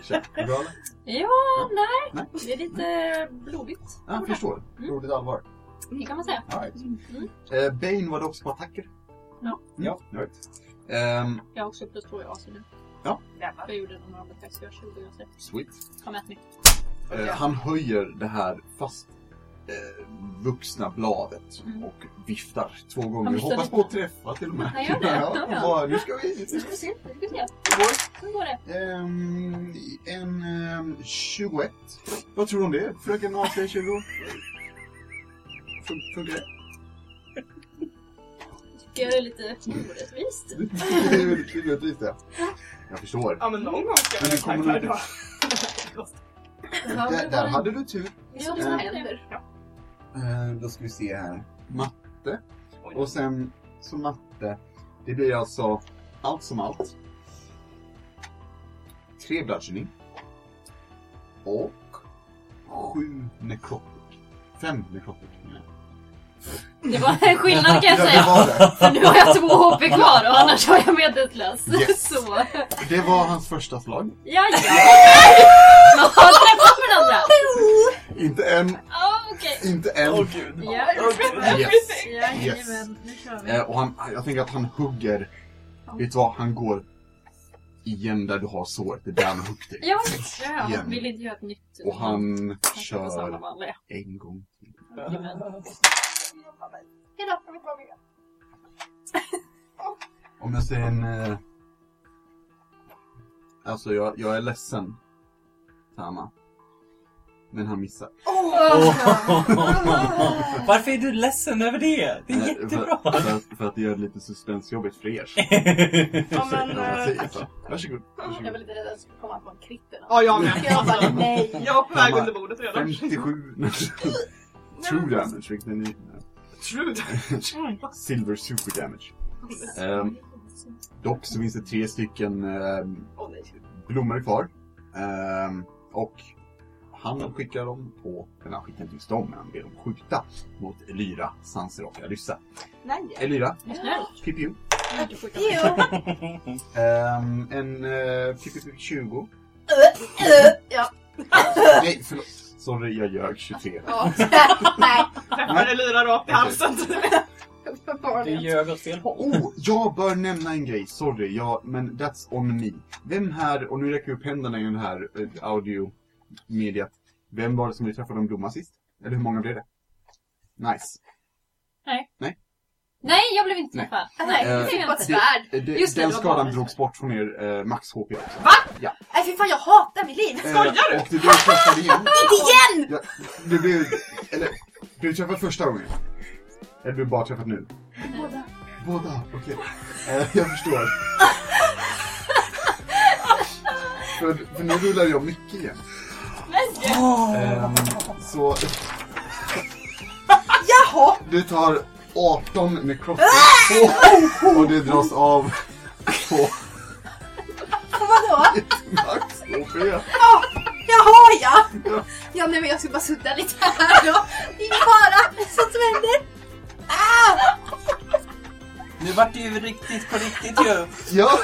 E: Tja. Bra eller?
C: Ja, nej.
E: Nej.
C: Det är lite blodigt.
E: Ja, jag förstår.
C: Mm.
E: Roligt allvar.
C: Det kan man säga.
E: All right.
C: Mm.
E: Eh, Bane var det också på attacker? Mm.
C: Ja.
E: Ja. Right. Ehm,
C: Jag har också plus två i AC nu.
E: Ja.
C: Jag gjorde några andra text. Jag har 20 i AC.
E: sweet.
C: Kom med mig.
E: Eh, han höjer det här fast eh, vuxna bladet
C: Mm.
E: och viftar två gånger.
C: Han
E: Jag
C: viftar
E: hoppas
C: lite.
E: på att träffa till och med.
C: Han gör det?
E: Ja,
C: Ja.
E: bara, nu ska vi...
C: Nu ska vi se, nu ska vi se. Hur går det?
E: Ehm, en ehm, 21. Vad tror du om det? Fröken AC 20? Fun- Funkar det?
C: Tycker jag det är lite orättvist.
E: Det är väldigt kul att visa. Jag förstår.
F: Ja men någon gång ska
E: Men
F: jag
E: det
F: ha
E: kommer
F: en
E: nog-
F: då.
C: Ja,
E: Där,
C: det
E: där
C: var
E: hade du tur.
A: Ja,
C: det
A: det
C: var
A: händer.
E: Eh, Då ska vi se här. Matte.
F: Oj.
E: Och sen så matte. Det blir alltså allt som allt. Tre bludgeoning. Och sju necrotic. Fem necrotic. menar jag.
C: det var en skillnad kan jag
E: Ja,
C: säga.
E: det var det.
C: För nu har jag två HP kvar och annars har jag medelklass.
E: Yes.
C: Så.
E: Det var hans första slag.
C: Ja, ja. Man har träffat varandra.
E: Inte en,
C: Ja, okej.
E: inte en.
B: Åh gud.
C: Ja,
E: Yes.
C: Jajamän, nu kör vi.
E: Eh, och han, jag tänker att han hugger. Vet du vad? Han går igen där du har såret. Det är där han hugger dig.
C: Ja, ja,
E: Igen.
C: vill inte göra ett nytt.
E: Och han
C: kan få samma
E: kör
C: vanliga.
E: en gång
C: Jajamän.
A: Hejdå, jag vill vara med.
E: Om jag säger en... Eh... Alltså jag, jag är ledsen. Tama. Men han missar.
B: Varför är du ledsen över det? Det är
E: Eh,
B: jättebra.
E: För, för, att, för att det gör lite suspensjobbigt för er.
F: Ja men...
E: Jag
F: eh,
E: säger så. Varsågod.
A: Jag var
E: Varsågod.
A: lite rädd att det skulle komma på en kritt eller något.
F: Ja jag med.
A: Jag bara nej.
F: Jag var på väg under bordet redan.
E: 57. True damage, vilket är ny.
F: True
E: Silver super damage. Ehm, dock så finns det tre stycken ehm,
F: Åh nej.
E: blommor kvar. Ehm, och han skickar dem på, eller han skickar inte just dem, men han ber dem skjuta mot Elyra, Sanser och Alyssa.
F: Nej.
E: Elyra,
C: Vad snäll.
E: pip pip.
C: Mycket skit.
A: Jo.
E: Ehm, en uh, pip pip 20.
A: Ja.
E: Nej, förlåt. Sorry, jag ljög 23.
A: Ja. Nej,
F: Träffade Lyra rakt i halsen.
B: Du
A: uppenbarligen.
B: ljög åt fel håll.
E: Oh, jag bör nämna en grej. Sorry, ja, men that's on me. Vem här, och nu räcker jag upp händerna i den här eh, audiomediet. Vem var det som vi träffade om blomma sist? Eller hur många blev det? Nice.
C: Nej, jag blev inte
E: Nej.
C: träffad.
A: Nej,
E: Eh,
A: det är bara ett
E: det-
A: svärd.
E: Eh, det-
A: Just det,
E: den
A: det var
E: skadan
A: bara-
E: drogs bort från er eh, max HP också.
A: Nej fy fan jag hatar mitt liv.
E: Skojar du? Och du blev träffad igen.
A: Inte igen!
E: Ja, du blev... Eller, blev du träffad första gången? Eller blev du bara träffad nu?
A: Båda.
E: Båda, okej. Eh, jag förstår. för, för nu rullar jag mycket igen. Ehm, så...
A: Jaha!
E: Du tar 18 nekrotter
A: Ah!
E: och det dras av på
A: Vadå?
E: max HP.
A: Jaha ja! Ja nej men jag ska bara sudda lite här då. Det är ingen fara. Sånt som händer.
B: Nu vart det ju riktigt på riktigt ju.
E: Ja,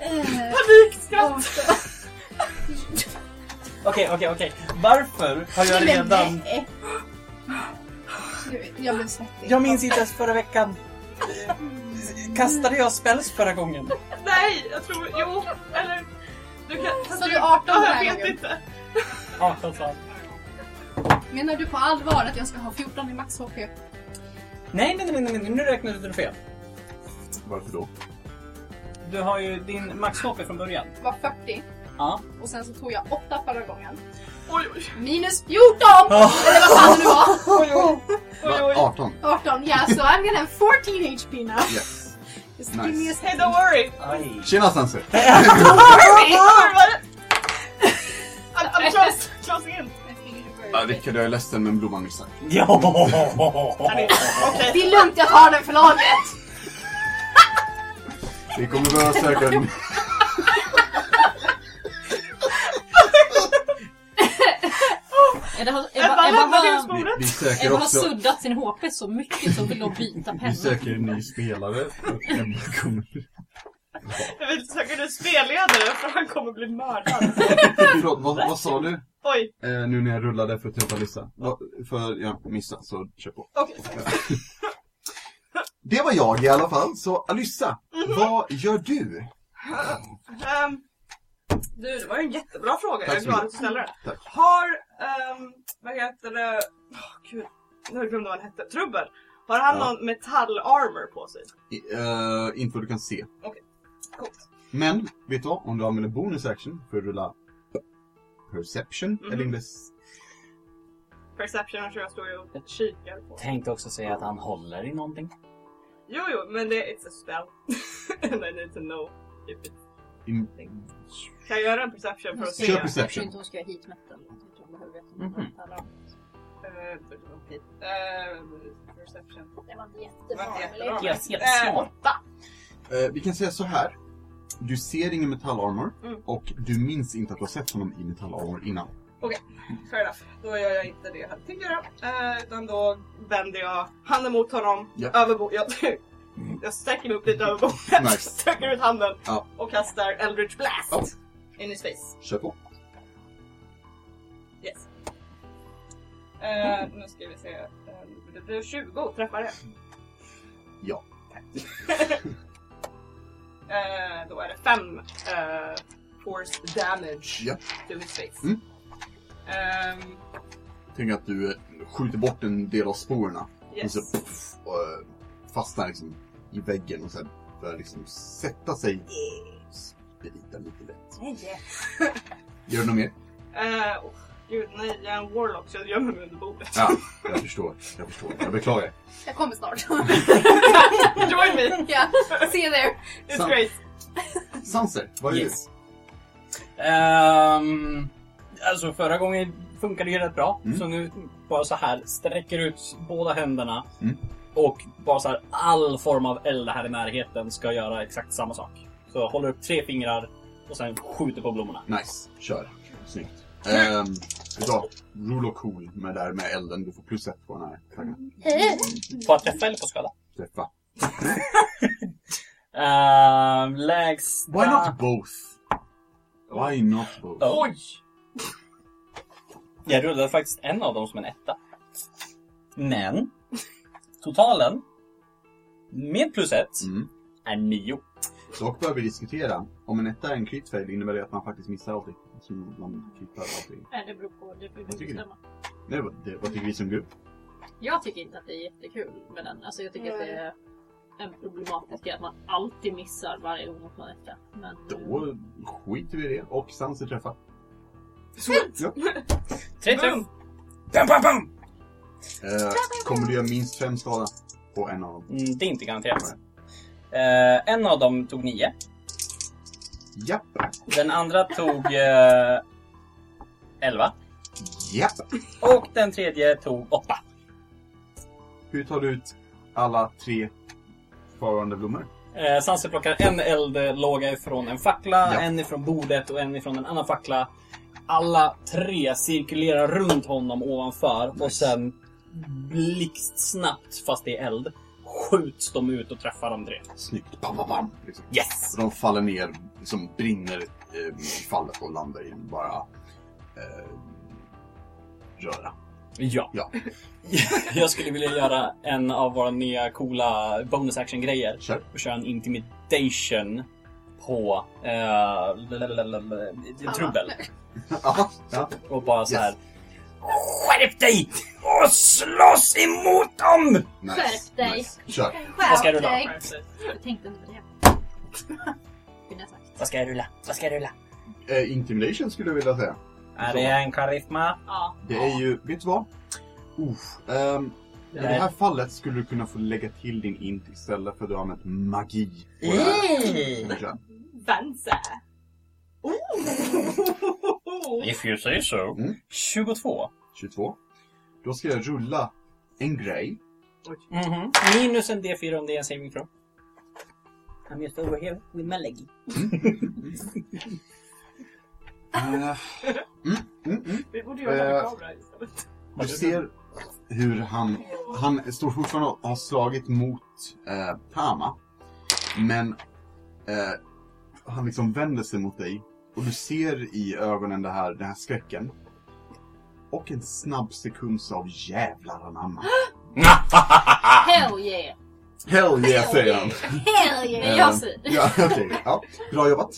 A: Eh, Panikskratt!
B: Okej, okej, okej. Varför har jag redan...
A: Jag blev svettig.
B: Jag minns inte ens förra veckan. Eh, Kastade jag spells förra gången?
F: Nej, jag tror... Jo, eller... Du kan...
A: Så du är 18
F: Ja,
A: den här
F: jag vet
A: gången?
F: inte.
B: 18 slag.
A: Menar du på allvar att jag ska ha 14 i max HP?
B: Nej, nej, nej, nej, nej, nu räknade du fel.
E: Varför då?
B: Du har ju din max-HP från början.
A: Var 40.
B: Ja.
A: Och sen så tog jag 8 förra gången.
F: Oj, oj,
A: Minus 14!
B: Ah.
A: Eller vad fan det nu var!
F: oj, oj. oj,
E: Va?
F: oj.
E: 18?
A: 18, ja. So I'm gonna have 14 HP now.
E: Yes.
A: Just give me a
E: Nice.
F: Hey, don't worry.
B: Aj.
E: Tjena Sanser!
F: Korvare! I'm, I'm close, closing in.
E: Ja, Rickard, jag är ledsen men blomman missar.
B: Ja!
F: Okej.
A: Det är lugnt, jag tar den för laget!
E: Vi kommer behöva söka en...
C: Ebba, Ebba,
F: Ebba,
C: Ebba,
F: lämna
C: har-
E: Vi,
F: husbordet.
E: vi söker
C: Ebba har
E: också...
C: suddat sin HP så mycket som vill de byta
E: Vi
C: penna.
E: söker en ny spelare. Emma kommer-
F: Jag vill söka nu spelledare för han kommer bli mördad.
E: Förlåt, vad, vad sa du?
F: Oj,
E: Eh, nu när jag rullade för att träffa Lissa. Va- För jag missade, så kör på.
F: okej.
E: Det var jag i alla fall. Så Alyssa,
F: Mhm.
E: vad gör du?
F: Ehm, du, det var ju en jättebra fråga. Jag
E: Tack
F: är
E: så
F: glad
E: mycket.
F: att du ställde den.
E: Tack.
F: Har, ehm, vad heter det? Åh, gud. gud, nu glömde vad han hette. Trubbel! Har han
E: Ja.
F: någon metallarmor på sig?
E: I- eh, inte vad du kan se.
F: Okej. Coolt.
E: Men, vet du vad? Om du använder bonus action för att rulla perception,
F: Mhm.
E: eller indes...
F: Perception kanske jag står ju och kikar på.
B: Tänkte också säga att han håller i någonting.
F: Jo, jo, men det it's a spell. And I need to know if it...
E: In...
F: Kan jag göra en perception för att se?
E: Kör
F: Eh,
E: perception.
C: Jag tror inte hon ska göra heat metal. Jag tror hon behöver veta vad
B: Mhm.
C: det handlar om.
F: okej. Eh, Perception.
A: Det var inte
F: Det var
A: jättebra.
F: inte
A: eller?
F: jättebra.
B: Yes, yes,
F: Eh,
B: smart.
F: Åtta!
E: Eh, vi kan säga så här. Du ser ingen metallarmor
F: Mm.
E: och du minns inte att du har sett honom i metallarmor innan.
F: Fair enough. Då gör jag inte det jag hade tänkt göra. Eh, utan då vänder jag handen mot honom,
E: Ja. Mm.
F: över bo- jag, jag sträcker mig upp lite över bordet,
E: Nice.
F: sträcker ut handen
E: Ja.
F: och kastar Eldritch Blast
E: Ja.
F: in his face.
E: Kör på.
F: Yes. Eh, nu ska vi se. Eh, Det blir 20, träffar det?
E: Ja.
F: Eh, då är det 5 eh, force damage
E: Ja.
F: to his face.
E: Mm.
F: Ehm,
E: Tänk att du eh, skjuter bort en del av sporerna.
F: yes.
E: Och så puff, och eh, fastnar liksom i väggen och sen börjar liksom sätta sig. Sprida lite lätt. Gör du något mer?
F: Eh, åh, gud, nej, jag är en warlock så jag gömmer mig under bordet.
E: Ja, jag förstår. Jag förstår. Jag beklagar.
A: Jag kommer snart.
F: Join me!
A: ja, see you there.
F: It's
E: Sant.
F: great!
E: Sanser, vad är
B: Yes. Ehm, alltså förra gången funkade det ju rätt bra.
E: Mm.
B: Så nu bara så här sträcker ut båda händerna.
E: Mm.
B: Och bara så här all form av eld här i närheten ska göra exakt samma sak. Så jag håller upp tre fingrar och sen skjuter på blommorna.
E: du? Nice, kör. Snyggt. Ehm, vet du vad? Roll och cool med där med elden. Du får plus ett på den här taggen.
B: Får jag träffa eller på skada?
E: Träffa.
B: Ehm, lägsta...
E: Why not both? Ah. Why not both?
B: Ja. Jag rullade faktiskt en av dem som en etta. Men totalen med plus ett
E: Mm.
B: är nio.
E: Dock bör vi diskutera. Om en etta är en crit fail innebär det att man faktiskt missar allting. Som man kritar allting.
C: Nej, det beror på. Det beror på
E: Jag tycker det.
C: bestämma.
E: Nej, vad, det, vad tycker vi som grupp?
C: Jag tycker inte att det är jättekul med den. Alltså jag tycker att det är en problematisk grej att man alltid missar varje gång mot Marika. Men eh,
E: Då skiter vi i det. Och Sanser träffar.
F: Sweet!
E: Ja.
B: Tre träff!
F: Boom.
B: Bam, bam, bam!
E: Eh, kommer du göra minst fem skada på en av dem?
B: Mm, det är inte garanterat. Eh, en av dem tog nio.
E: Japp!
B: Den andra tog eh, elva.
E: Japp!
B: Och den tredje tog åtta.
E: Hur tar du ut alla tre kvarvarande blommor?
B: Eh, Sanse plockar en eldlåga ifrån en fackla,
E: Ja.
B: en ifrån bordet och en ifrån en annan fackla. Alla tre cirkulerar runt honom ovanför och sen blixtsnabbt, fast det är eld, skjuts de ut och träffar de tre.
E: Snyggt! Bam, bam, bam! Liksom.
B: Yes!
E: Så de faller ner, liksom brinner eh, i fallet och landar i en bara eh, röra.
B: Ja.
E: Ja.
B: Jag skulle vilja göra en av våra nya coola bonus action-grejer.
E: Kör!
B: och köra en intimidation på eh, lalalala, trubbel.
E: Aha, ja.
B: Och bara så
E: Yes.
B: här. Skärp dig! Och slåss emot dem!
E: Nice.
C: Skärp dig.
E: Nice. Kör!
B: Vad ska jag rulla?
A: Okej.
C: jag tänkte inte på det. Kunde jag sagt.
B: Vad ska jag rulla? Vad ska jag rulla?
E: Eh, intimidation skulle jag vilja säga.
B: Är det en karisma?
F: Ja.
E: Det är ju, vet du vad? Uff, ehm, I det här fallet skulle du kunna få lägga till din int istället för att du har använt magi. på det här. Verkligen.
F: Vansa! Oh.
B: If you say so.
E: Mm.
B: 22.
E: 22. Då ska jag rulla en grej.
B: Mhm. Minus en D4 om det är en saving throw. I'm just over here with my leggy.
E: Eh, Mm, mm, mm.
F: Vi borde göra det
E: Eh.
F: med kamera istället.
E: Du ser hur han, han står fortfarande och har slagit mot eh, Tama. Men eh, han liksom vänder sig mot dig och du ser i ögonen det här, den här skräcken. Och en snabb sekunds av jävlar anamma. Ah!
C: Hell yeah!
E: Hell yeah säger han.
C: Hell yeah!
E: Eh,
C: Jag säger det.
E: Ja, okej. Ja, bra jobbat.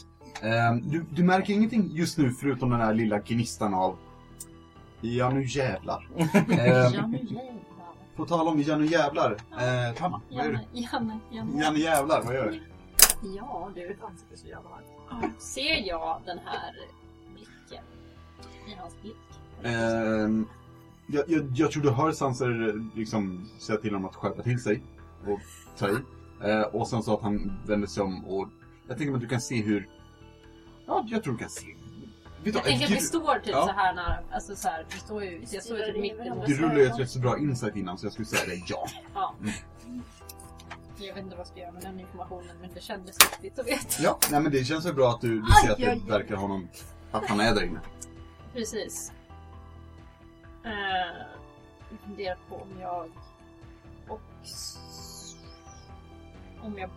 E: Ehm, du, du märker ingenting just nu förutom den här lilla gnistan av Ja, nu jävlar. eh,
C: Janne jävlar.
E: på tal om Janne jävlar. Eh, Tamma, vad gör du?
C: Janne, Janne, Janne.
E: Janne jävlar, vad gör du?
C: Ja du.
F: Mitt ansikte är så jävla varmt.
E: Ah.
C: Ser jag den här blicken? I hans blick?
E: Ehm, jag, jag, jag tror du hör Sanser eh, liksom säga till honom att skärpa till sig och ta i. Eh, och sen så att han vänder sig om och jag tänker mig att du kan se hur... Ja, jag tror du kan se. Vet du vad,
C: Jag tänker att vi
E: du-
C: står typ
E: Ja.
C: så här nära, alltså så här, vi står ju, jag står ju typ mitt emot.
E: Du rullade ju ett rätt så bra insight innan så jag skulle säga det ja.
C: Jag vet inte vad jag ska göra med den informationen men det kändes viktigt att veta.
E: Ja, nej men det känns väl bra att du, du ser att
A: aj,
E: det
A: aj.
E: verkar honom, att han är där inne.
C: Precis. Eh, Jag funderar på om jag och s- om jag...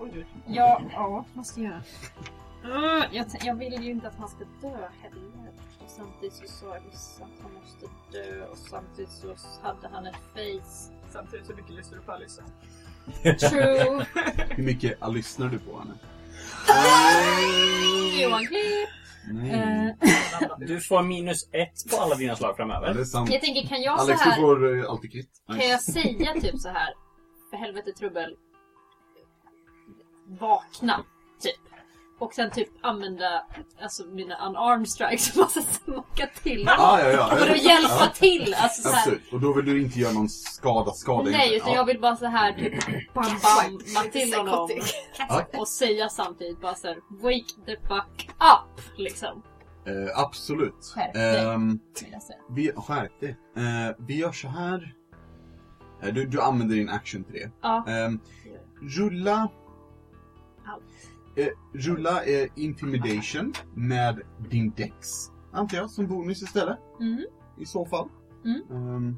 F: Oj, oj.
C: Ja, ja, vad ska jag göra? Eh, Jag, t- jag vill ju inte att han ska dö heller. Och samtidigt så sa jag visst att han måste dö och samtidigt så hade han ett face.
F: Samtidigt så mycket lyssnar du på Alyssa.
C: True.
E: Hur mycket eh, lyssnar du på henne?
C: Johan Klipp!
E: Nej.
C: Eh,
B: Du får minus ett på alla dina slag
E: Ja, det
B: framöver.
E: Mm. är sant.
C: Jag tänker, kan jag så
E: Alex,
C: här...
E: du får eh, alltid krit.
C: Kan jag säga typ så här för helvete trubbel, vakna, typ. Och sen typ använda alltså, mina unarmed strikes och bara smacka till
E: Ah, ja, ja.
C: för att hjälpa
E: Ja,
C: till. Alltså, så här,
E: Absolut. Och då vill du inte göra någon skada, skada.
C: nej,
E: egentligen.
C: utan jag vill bara så här typ bam bam bam till honom
E: Ja.
C: och säga samtidigt bara så här wake the fuck up liksom.
E: Eh, absolut.
C: Skärp dig.
E: Ehm,
C: vill jag säga.
E: vi, skärp dig. Eh, vi gör så här. Eh, du, du använder din action till det.
C: Ja.
E: Ehm, rulla...
C: Au.
E: Eh, rulla eh, intimidation med din dex, antar jag, som bonus istället.
C: Mm.
E: I så fall.
C: Mm.
E: Ehm,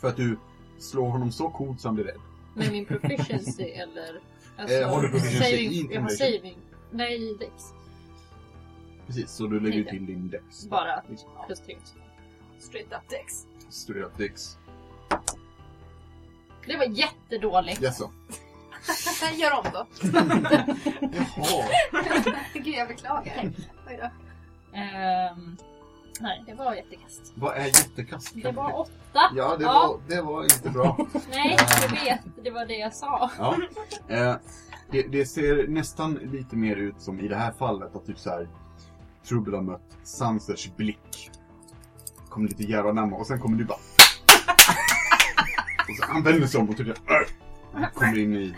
E: för att du slår honom så coolt så han blir rädd.
C: Med min proficiency eller? Alltså,
E: Eh, har du proficiency i
C: saving, Jag har
E: intimidation?
C: saving. Nej, i dex.
E: Precis, så du lägger
C: Okej.
E: till din dex.
C: Bara
E: Liksom, ja,
C: plus tre.
F: Straight up Dex.
E: straight up dex.
C: Det var jättedåligt.
E: Jaså?
A: Gör om då.
E: Jaha.
A: Gud, jag beklagar. Oj då.
C: Ehm, nej, det var jättekast.
E: Vad är jättekast?
C: Det var åtta.
E: Ja, det,
C: Ja.
E: Var, det var inte bra.
C: Nej, jag vet. Det var det jag sa.
E: Ja. Eh, det, det ser nästan lite mer ut som i det här fallet att typ så här Trubbel har mött Sansers blick. Kommer lite jävla närmare och sen kommer du bara... och så han vänder sig om och typ "Arr!" kommer in i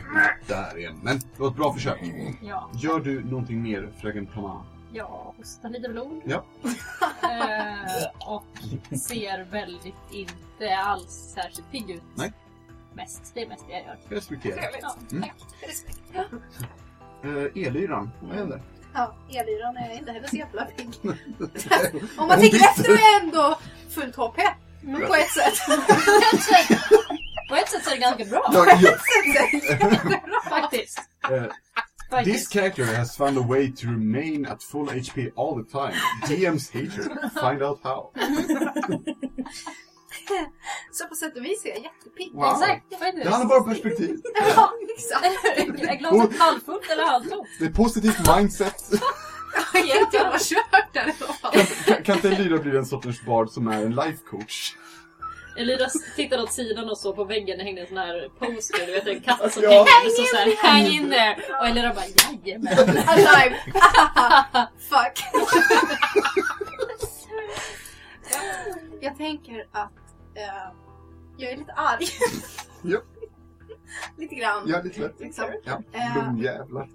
E: där igen. Men det var ett bra försök.
C: Ja,
E: Gör du någonting mer, fröken Tama?
C: jag hostar lite blod.
E: Ja.
C: Ehm, och ser väldigt inte alls särskilt pigg ut.
E: Nej.
C: Mest. Det är mest det jag gör.
E: Respektera.
C: Ja,
E: Mm.
C: tack.
E: Eh, Elyran, vad händer?
A: Ja, elyran är inte heller så jävla pigg. Om
E: Hon
A: man tänker
E: bytte.
A: efter är ändå fullt HP. Men på ett sätt.
C: På ett sätt så är det ganska bra
E: Ja, ja.
C: faktiskt.
E: Eh, This
C: faktiskt.
E: character has found a way to remain at full HP all the time. DM's hate her. Find out how.
A: Så på sätt och vis är jag jättepigg.
E: Wow.
C: Exakt, faktiskt.
E: Det handlar bara om perspektiv.
A: Ja, exakt.
C: Är glaset halvfullt eller halvtomt?
E: Det är positivt mindset.
A: Jag vet inte, jag var kört där i alla fall.
E: Kan, kan inte Lyra bli den sortens bard som är en life coach?
C: Elira tittade åt sidan och så på väggen det hängde en sån här poster, du vet en katt som
E: Ja.
C: hängde så såhär hang in there! Och Elira bara jajamän!
A: Alive! Fuck! jag tänker att eh, jag är lite arg.
E: Ja.
A: lite grann.
E: Ja, lite lätt.
A: Liksom.
E: Ja,
A: Eh,
E: blodjävlar.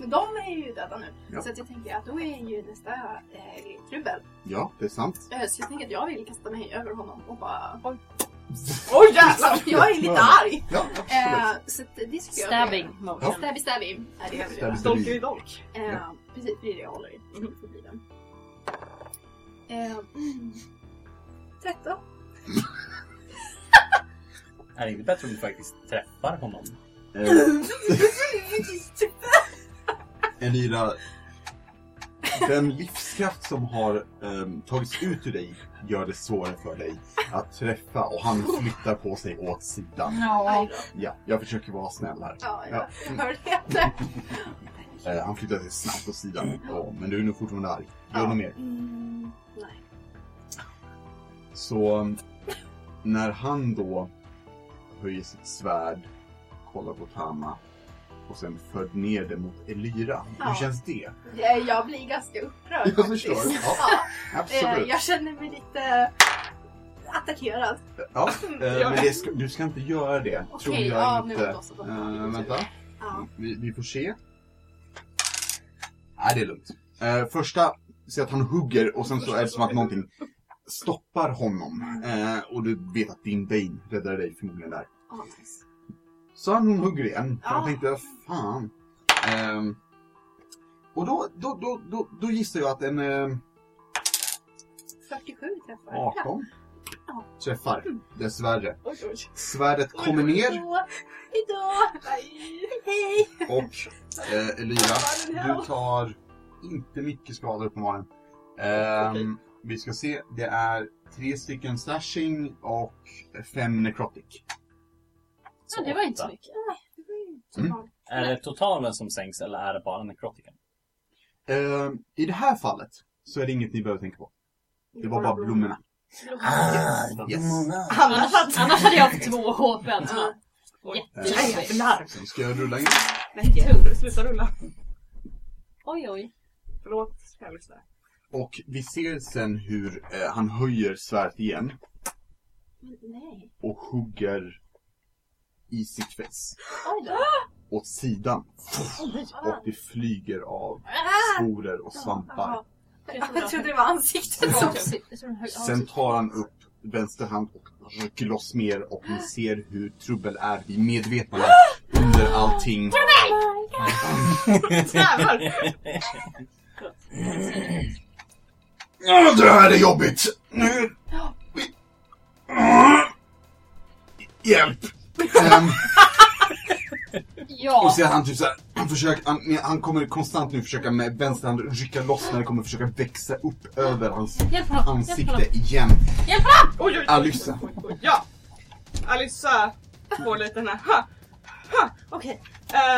A: Men de är ju döda nu.
E: Ja.
A: Så att jag tänker att då är ju nästa eh, trubbel.
E: Ja, det är sant.
A: Eh, Så jag tänker att jag vill kasta mig över honom och bara... Oj
E: Oj,
A: jävlar! Jag är lite arg!
E: Ja,
A: Eh,
E: absolut.
A: så att det skulle jag
C: Stabbing
E: Ja.
C: motion.
A: Stabby stabby. Ja, det gör vi
E: Stabby,
A: redan.
E: stabby.
F: Dolker i dolk.
A: Eh, precis, det är det jag håller i. Mm, Det får bli den. Eh, 13.
B: Är det inte bättre om du faktiskt träffar honom?
E: Eh, Elira, den livskraft som har ehm, tagits ut ur dig gör det svårare för dig att träffa och han flyttar på sig åt sidan.
A: Aj
C: Ja.
A: då.
E: Ja, Mm. jag försöker vara snäll här.
A: Ja,
E: Ja.
A: jag jag hörde det.
E: Eh, han flyttar sig snabbt åt sidan. Ja, men du är nog fortfarande arg. Gör något mer.
A: Mm, nej.
E: Så um, när han då höjer sitt svärd, kollar på Tama och sen för ner det mot Elira.
A: Ja.
E: Hur känns det?
A: Jag, jag blir ganska upprörd
E: Jag
A: faktiskt.
E: förstår. Ja.
A: Eh,
E: Absolut.
A: Jag känner mig lite attackerad.
E: Ja, eh, men det ska, du ska inte göra det. tror
A: Okej,
E: jag
A: ja, nu
E: inte.
A: var det också då.
E: Eh, vänta.
A: Ja.
E: Vi, vi får se. Nej, det är lugnt. Eh, första, ser att han hugger och sen så är det som att någonting stoppar honom. Eh, och du vet att din Bane räddade dig förmodligen där.
A: Ah, nice.
E: Så han hon hugger igen. För
A: Ja.
E: Han tänkte, fan. Ehm, och då, då, då, då, då gissar jag att en ehm,
A: 47 träffar.
E: 18
A: Ja.
E: träffar, dessvärre.
F: Oj, oj.
E: Svärdet kommer ner
A: Hejdå! Hejdå! Hej!
E: och eh, Elira,
A: Vad är det här?
E: du tar inte mycket skada uppenbarligen. Ehm, Vi ska se, det är tre stycken slashing och fem necrotic.
C: Ja, det var inte så
B: åtta.
C: mycket.
A: Mm.
E: Mm.
B: Är det totalen som sänks eller är det bara nekrotiken?
E: Ehm, I det här fallet så är det inget ni behöver tänka på. Det var bara blommorna.
C: Ah,
E: Yes.
A: Alla
C: Annars, annars hade jag haft två HP Alltså, än
A: Ja.
E: Jättejobbigt. Sen ska jag rulla in.
F: Nej, sluta rulla.
C: Oj oj.
F: Förlåt, jag lyssnar.
E: Och vi ser sen hur eh, han höjer svärdet igen
A: Nej.
E: och hugger i sitt face.
A: Oj då.
E: Åt sidan. Och det flyger av
A: Ah!
E: sporer och svampar.
A: Jaha. Jag trodde det var ansiktet som...
E: Sen tar han upp vänster hand och rycker loss mer och ni ser hur Trubbel är vid medvetande under allting.
F: Jävlar!
E: Ja, Ah, Det här är jobbigt! Nu... Hjälp! Ehm, Och
C: Ja.
E: ser han typ såhär, han, försöker, han, han kommer konstant nu försöka med vänster hand rycka loss när det kommer försöka växa upp över hans
C: Hjälp honom. Hjälp honom.
E: ansikte igen.
F: Oj, oj, oj,
E: Alyssa.
F: oj, oj, oj. Ja! Alyssa får lite den här... Ha! Ha! Okej.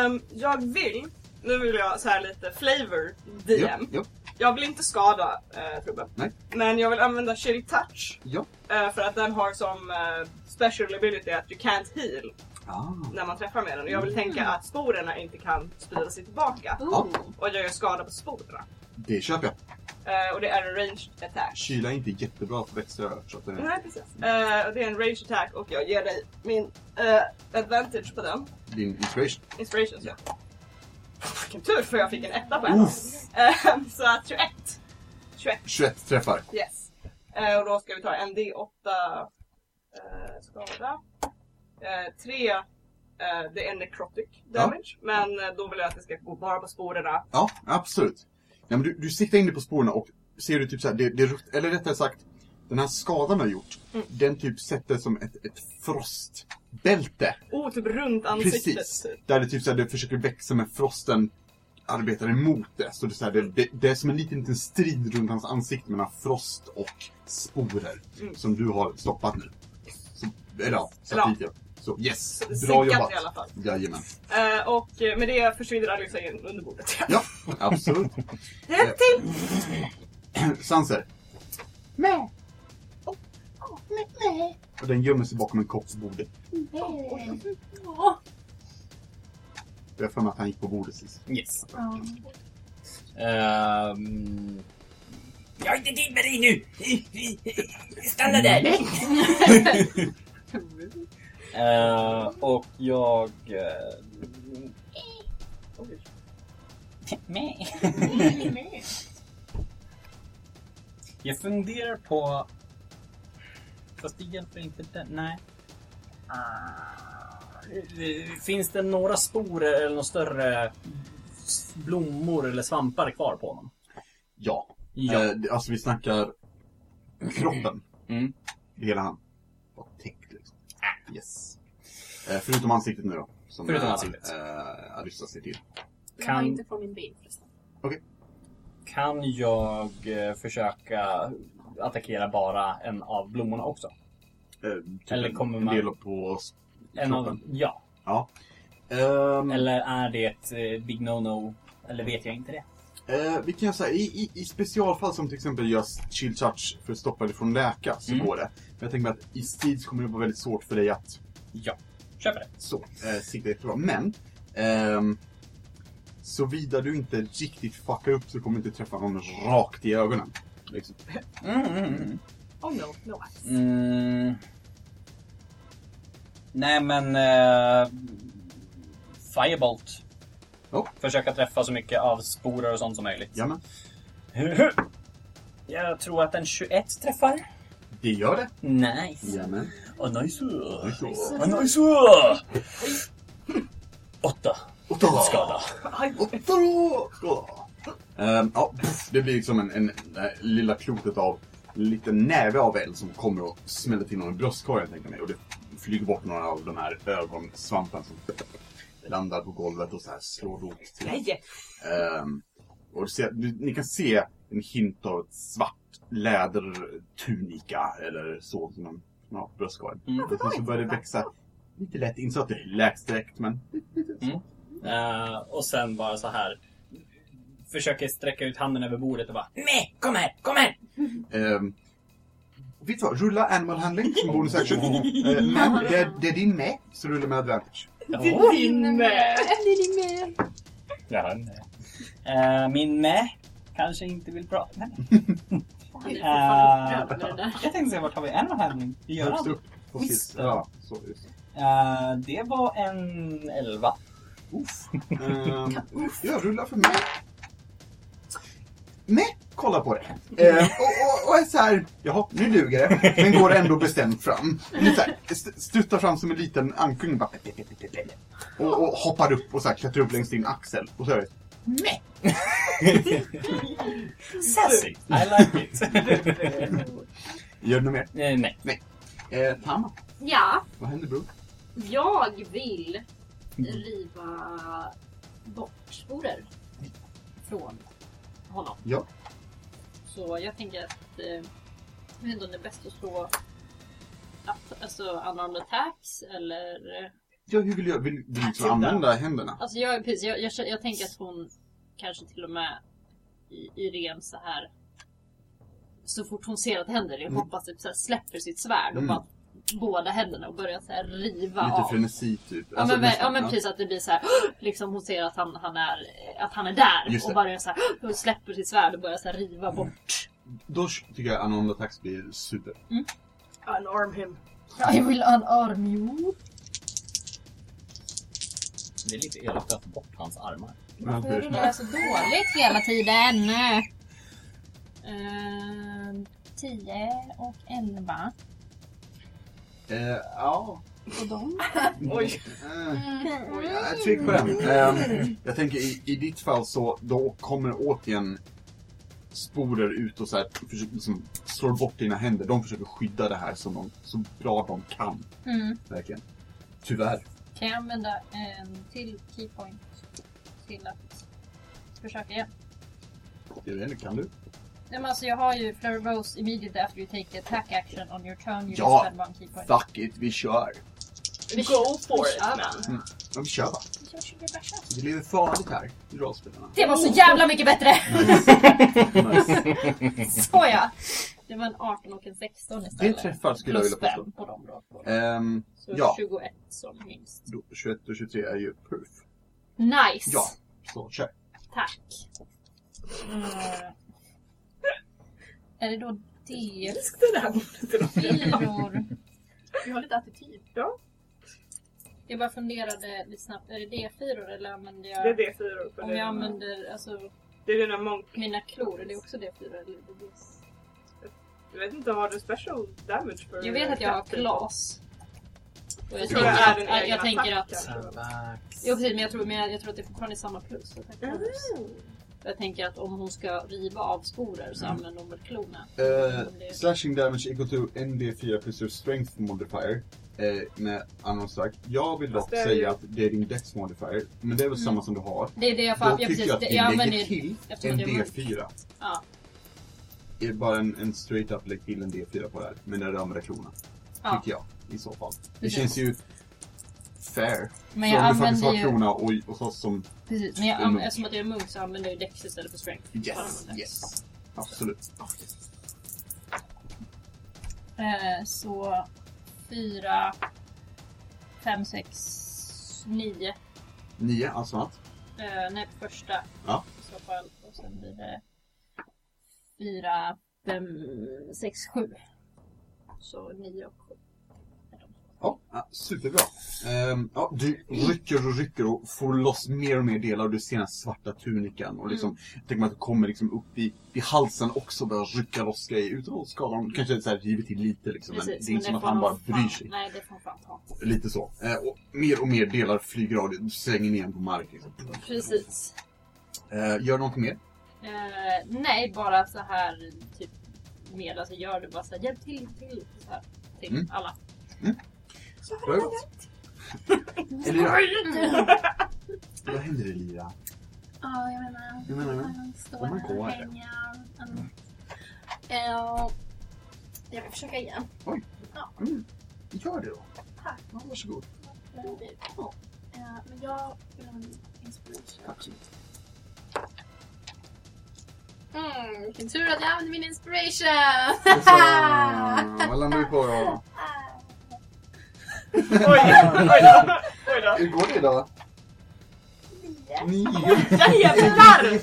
F: Ehm, jag vill... Nu vill jag så här lite flavor DM.
E: Ja, ja,
F: Jag vill inte skada eh, Trubbe.
E: Nej.
F: Men jag vill använda Chill Touch.
E: ja.
F: eh, för att den har som eh, special ability att you can't heal
E: Ah.
F: när man träffar med den. Och jag vill tänka att sporerna inte kan sprida sig tillbaka.
E: Ja,
F: Och jag gör skada på sporerna.
E: det köper jag.
F: Eh, och det är en ranged attack.
E: Kyla är inte jättebra för växter jag har förstått det.
F: Nej precis. Eh, och det är en rage attack och jag ger dig min eh, advantage på den.
E: Din inspiration.
F: Inspiration så. Vilken tur för jag fick en etta på en. Eh, så att 21. 21
E: 21 träffar.
F: yes. Eh, och då ska vi ta en D8 eh, skada. Eh, tre, eh, det är necrotic damage. Men eh, då vill jag att det ska gå bara på sporerna.
E: Ja, absolut. Nej, men du, du siktar in dig på spåren och ser du typ såhär, det, det, rutt- eller rättare sagt, den här skadan du har gjort,
F: Mm.
E: den typ sätter som ett, ett frostbälte
F: Oh, typ runt ansiktet.
E: Precis.
F: typ.
E: Där det typ såhär, det försöker växa men frosten arbetar emot det. Så det, är såhär, det, det, det är som en liten, liten strid runt hans ansikte mellan frost och sporer.
F: Mm.
E: Som du har stoppat nu. Så, eller ja,
F: Bra.
E: satt dit ja. Så yes,
F: det är
E: bra
F: sinkat
E: jobbat.
F: i alla fall.
E: Jajamän.
F: Eh, och eh, med det försvinner Alyssa in under bordet.
E: Ja, absolut.
F: Ett till!
E: Sanser. Och den gömmer sig bakom en kopp på bordet.
A: Åh,
E: Jag har för mig att han gick på bordet sist.
B: Yes.
A: Ja.
B: Ehm, jag är inte till med dig nu! Stanna där! Eh, och jag... eh, Uh, jag funderar på... Fast det hjälper inte den. Nej. Ah, Finns det några sporer eller några större blommor eller svampar kvar på honom?
E: Ja.
B: Ja.
E: Eh, det- alltså vi snackar kroppen.
B: Mm.
E: Hela han. Var täckt liksom. Yes. Eh, förutom ansiktet nu då. Som
B: Förutom
E: eh,
B: ansiktet.
E: Eh, Alyssa ser till.
A: Jag var
B: Kan-
A: inte på min bild förresten.
B: Kan jag eh, försöka attackera bara en av blommorna också?
E: Eh, typ
B: Eller
E: en-
B: kommer
E: en
B: man-
E: del på oss.
B: En av,
E: Kroppen.
B: ja.
E: Ehm,
B: Eller är det ett eh, big no-no Eller vet jag inte det?
E: Eh, vi kan göra så här, i, i, i specialfall som till exempel görs chill touch för att stoppa dig från läka så
B: Mm.
E: går det. Men jag tänker mig att i strid så kommer det vara väldigt svårt för dig att
B: Ja. Köper det.
E: så, eh, sikta jättebra. Men, ehm, såvida du inte riktigt fuckar upp så kommer du inte träffa någon rakt i ögonen. Liksom.
B: Mm, mm, mm.
F: Oh no, no ice.
B: Mm. Nej men... Eh, firebolt.
E: Ja.
B: Försöka träffa så mycket av sporer och sånt som möjligt.
E: Jamen,
B: Jag tror att en 21 träffar.
E: det gör det.
B: Nice.
E: Jamen.
B: Oh, nice.
E: Nice.
B: Oh, nice. Åtta
E: Åtta
B: skada.
E: Åtta då! Skada. Ehm, ja, pff, det blir liksom en, en, eh, lilla klotet av lite näve av eld som kommer och smäller till någon i bröstkorgen tänker jag mig. Och det flyger bort några av de här ögonsvamparna som landar på golvet och så här slår rot till.
F: Nej!
E: Ehm, och du ser, du, ni kan se en hint av ett svart lädertunika eller så som de har på bröstkorgen.
B: Mm.
E: Och sen så börjar det växa lite lätt in så att det läks direkt men
B: Eh, och sen bara så här. Försöker sträcka ut handen över bordet och bara Nej, kom här, kom här!
E: Ehm, vet du vad? Rulla animal handling som bonus action. Eh, men det, är- det är din med, så rulla med advantage.
A: Oh.
B: Ja.
F: Din med!
B: Ja, nej. Eh, min med kanske inte vill prata med mig.
C: Han är fortfarande
E: Äh.
B: Eh,
C: upprörd över det där.
B: Jag tänkte se vart har vi en av handling? Det gör
E: Högst
B: han.
E: upp. på sist.
B: Visst.
E: Ja, så just det.
B: Eh, det var en elva.
E: Uff. Ehm, ja, rulla för mig. Med, kolla på det. Ehm, och, och, och är så här, jaha, nu duger det. Men går ändå bestämt fram. Lite så här, st- Struttar fram som en liten ankunge bara. Och, och hoppar upp och så här, klättrar upp längs din axel. Och så är det, nej.
B: Sassy! I like it!
E: Gör du något mer?
B: Eh, nej.
E: Eh, Tama,
C: Ja,
E: vad händer bror?
C: jag vill
E: Mm.
C: riva bort sporer från honom.
E: Ja.
C: Så jag tänker att eh, jag vet inte om det är bäst att slå att, alltså unarmed attacks eller... eh,
E: Ja, hur vill jag vill, vill liksom
B: Händerna.
E: använda händerna?
C: Alltså jag, precis, jag, jag, jag tänker att hon kanske till och med i, i ren så här så fort hon ser att det händer, jag
E: Mm.
C: hoppas typ så här, släpper sitt svärd och
E: Mm.
C: bara båda händerna och börjar så här riva
E: Lite
C: av.
E: frenesi typ.
C: Ja men,
E: nästan,
C: ja men precis att det blir så här, liksom hon ser att han, han, är, att han är där
E: Just
C: och
E: det.
C: bara så här, och släpper sitt svärd och börjar så här riva bort.
E: Då tycker jag Anonda Tax blir super.
F: Unarm him.
A: Mm. I will unarm you.
B: Det är lite elakt att ta bort hans armar.
A: Hur rullar jag så dåligt?
C: hela tiden! Eh, 10 och 11.
E: Eh, ja.
A: Och de?
F: Oj.
E: Eh, oj, jag
C: Mm.
E: är trygg på den. Eh, jag tänker i, i ditt fall så då kommer återigen sporer ut och så här, försöker, liksom, slår bort dina händer. De försöker skydda det här som de, så bra de kan.
C: Mm.
E: Verkligen. Tyvärr.
C: Kan jag använda en till keypoint till att försöka igen?
E: Jag vet inte, kan du?
C: Nej, men alltså, jag har ju Flurry Rose immediately after you take the attack action on your turn you ja.
E: Ja.
C: spend one keypoint.
E: Fuck it, vi kör.
F: Go for it
C: Ja.
F: man.
E: Ja, vi kör va? Det lever farligt här i rollspelarna.
C: Det var så jävla mycket bättre!
E: Nice.
C: Såja! Det var en 18 och en 16
E: Det
C: istället.
E: träffar skulle jag
C: Plus
E: vilja påstå.
C: fem på dem då.
E: Ehm,
C: Så
E: ja.
C: 21 som minst.
E: då, 21 och 23 är ju proof.
C: Nice!
E: Ja, så kör.
C: Tack. Mm. Är det då D4?
F: Det där bordet
A: Vi har lite attityd.
C: Jag bara funderade lite snabbt. Är det D4 eller använder jag...
F: Det är D4 för
C: Om jag
F: det.
C: använder alltså,
F: Det är dina monk...
C: mina klor, är det också D4 eller är det D?
F: Jag vet inte, har du special damage för...
C: Jag vet att jag har
F: attack?
C: glas. Och jag
F: tror
C: tänker
F: det är
C: att,
F: din
C: jag,
F: egen
C: tänker
F: attack,
C: att...
F: ja.
C: Jo precis, men jag tror, men jag, jag tror att det fortfarande är samma plus. Jag tänker,
F: Mm.
C: jag tänker att om hon ska riva av sporer så använder hon väl klorna. Om det-
E: Mm. Eh, slashing damage equal to ND4 plus your strength modifier. Eh, med annan sak. Jag vill dock
F: Fast det är
E: säga
F: ju-
E: att det är din dex modifier. Men det är väl
C: Mm.
E: samma som du har.
C: Det är det jag
E: Då
C: får... Jag,
E: tycker
C: precis,
E: jag att
C: det,
E: vi
C: jag använder
E: lägger
C: ju...
E: till
C: eftersom
E: en
C: att jag är
E: D4.
C: Ja.
E: Det är bara en, en straight up lägg till en D4 på det här. Men där du använder klorna.
C: Ja.
E: Tycker jag. I så fall. Det
C: Precis.
E: känns ju... Fair.
C: Men
E: så
C: jag
E: om du faktiskt
C: använder
E: har
C: ju...
E: krona och, och så som...
C: Precis, men jag
E: Det är
C: använder,
E: munk.
C: eftersom att jag är munk så använder jag dex istället för strength.
E: Yes, yes. Absolut.
C: Eh, så... fyra, fem, sex, nio.
E: Nio, alltså allt.
C: Eh, nej, på första
E: Ja.
C: i så fall. Och sen blir det fyra, fem, sex, sju. Så nio och sju.
E: Ja, ja, superbra. Ehm, ja, du rycker och rycker och får loss mer och mer delar och du ser den här svarta tunikan. Och liksom, jag tänker mig att det kommer liksom upp i, i halsen också och börjar rycka loss grejer utan att skada honom. Kanske så här river till lite liksom, men det är inte som att
C: får
E: han bara
C: fan-
E: bryr sig.
C: Nej, det får han fan ta.
E: Lite så. Eh, och mer och mer delar flyger av dig. Du slänger ner den på marken. Liksom.
C: Precis.
E: Eh, gör någonting mer?
C: Eh, nej, bara så här typ med. Alltså gör det bara så här, hjälp till, hjälp till. Så här, till
E: Mm.
C: alla.
E: Bra. Elira.
F: Mm.
E: Vad händer Elira?
A: Ja, jag menar...
E: Jag menar,
A: Han står
E: Oh my
A: där och
E: God.
A: hänger. Mm. Eh, Jag kan försöka igen.
E: mm, gör det då.
A: Tack.
E: Ja, varsågod.
A: Men det- ja. Eh, Men jag... mm, Inspiration. Mm, vilken tur att jag använde min inspiration!
E: Så, Vad landar vi på då?
F: Oj, oj då. Oj då.
E: Hur går det då?
A: Nio.
E: Nio.
F: Jävlar!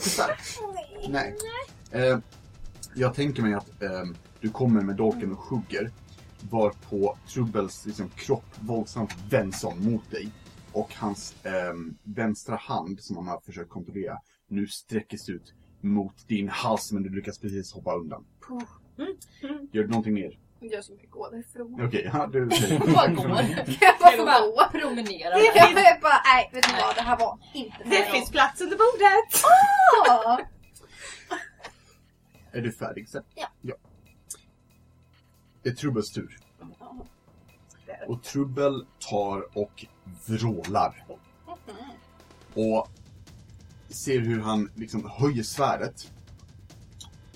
E: Nej. Eh, jag tänker mig att ehm, du kommer med dolken och hugger. Varpå Trubbels liksom, kropp våldsamt vänds om mot dig. Och hans ehm, vänstra hand som han har försökt kontrollera nu sträckes ut mot din hals men du lyckas precis hoppa undan. Gör du någonting mer?
A: Jag som fick gå därifrån.
E: Okej, ja, du
C: Bara går.
A: Jag bara får gå.
C: Bara promenerar.
A: Jag är bara, nej vet du vad, det här var inte
F: Det
A: bra.
F: finns plats under bordet!
A: Ja.
E: Är du färdig sen?
A: Ja.
E: Det är Trubbels tur. Och Trubbel tar och vrålar. Och ser hur han liksom höjer svärdet.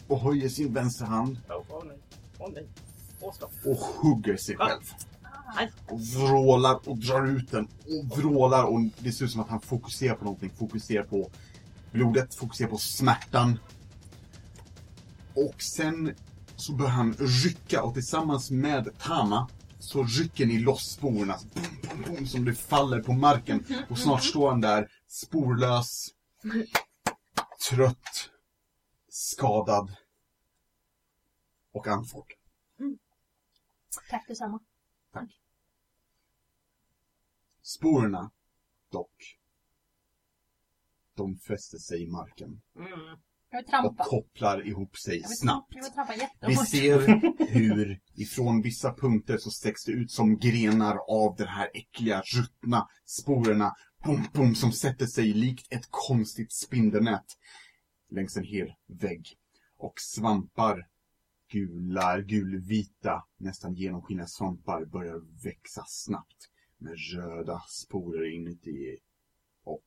E: Och höjer sin vänsterhand
F: Åh oh, nej. Åh nej. Åh stopp.
E: och hugger sig
F: Va?
E: själv.
F: Aj.
E: Och vrålar och drar ut den och vrålar och det ser ut som att han fokuserar på någonting. Fokuserar på blodet, fokuserar på smärtan. Och sen så börjar han rycka och tillsammans med Tama så rycker ni loss sporerna så boom, boom, boom, som det faller på marken. Och snart står han där sporlös, trött, skadad och andfådd.
C: Tack detsamma.
E: Sporerna, dock, de fäster sig i marken
F: Mm.
C: Jag vill
E: och
C: trampa.
E: kopplar ihop sig
C: Jag vill,
E: snabbt.
C: jag vill trampa
E: Vi
C: jättehårt.
E: ser hur ifrån vissa punkter så sträcks det ut som grenar av den här äckliga, ruttna sporerna. Bum, bum, som sätter sig likt ett konstigt spindelnät längs en hel vägg. Och svampar, gula, gulvita, nästan genomskinliga svampar börjar växa snabbt med röda sporer inuti. Och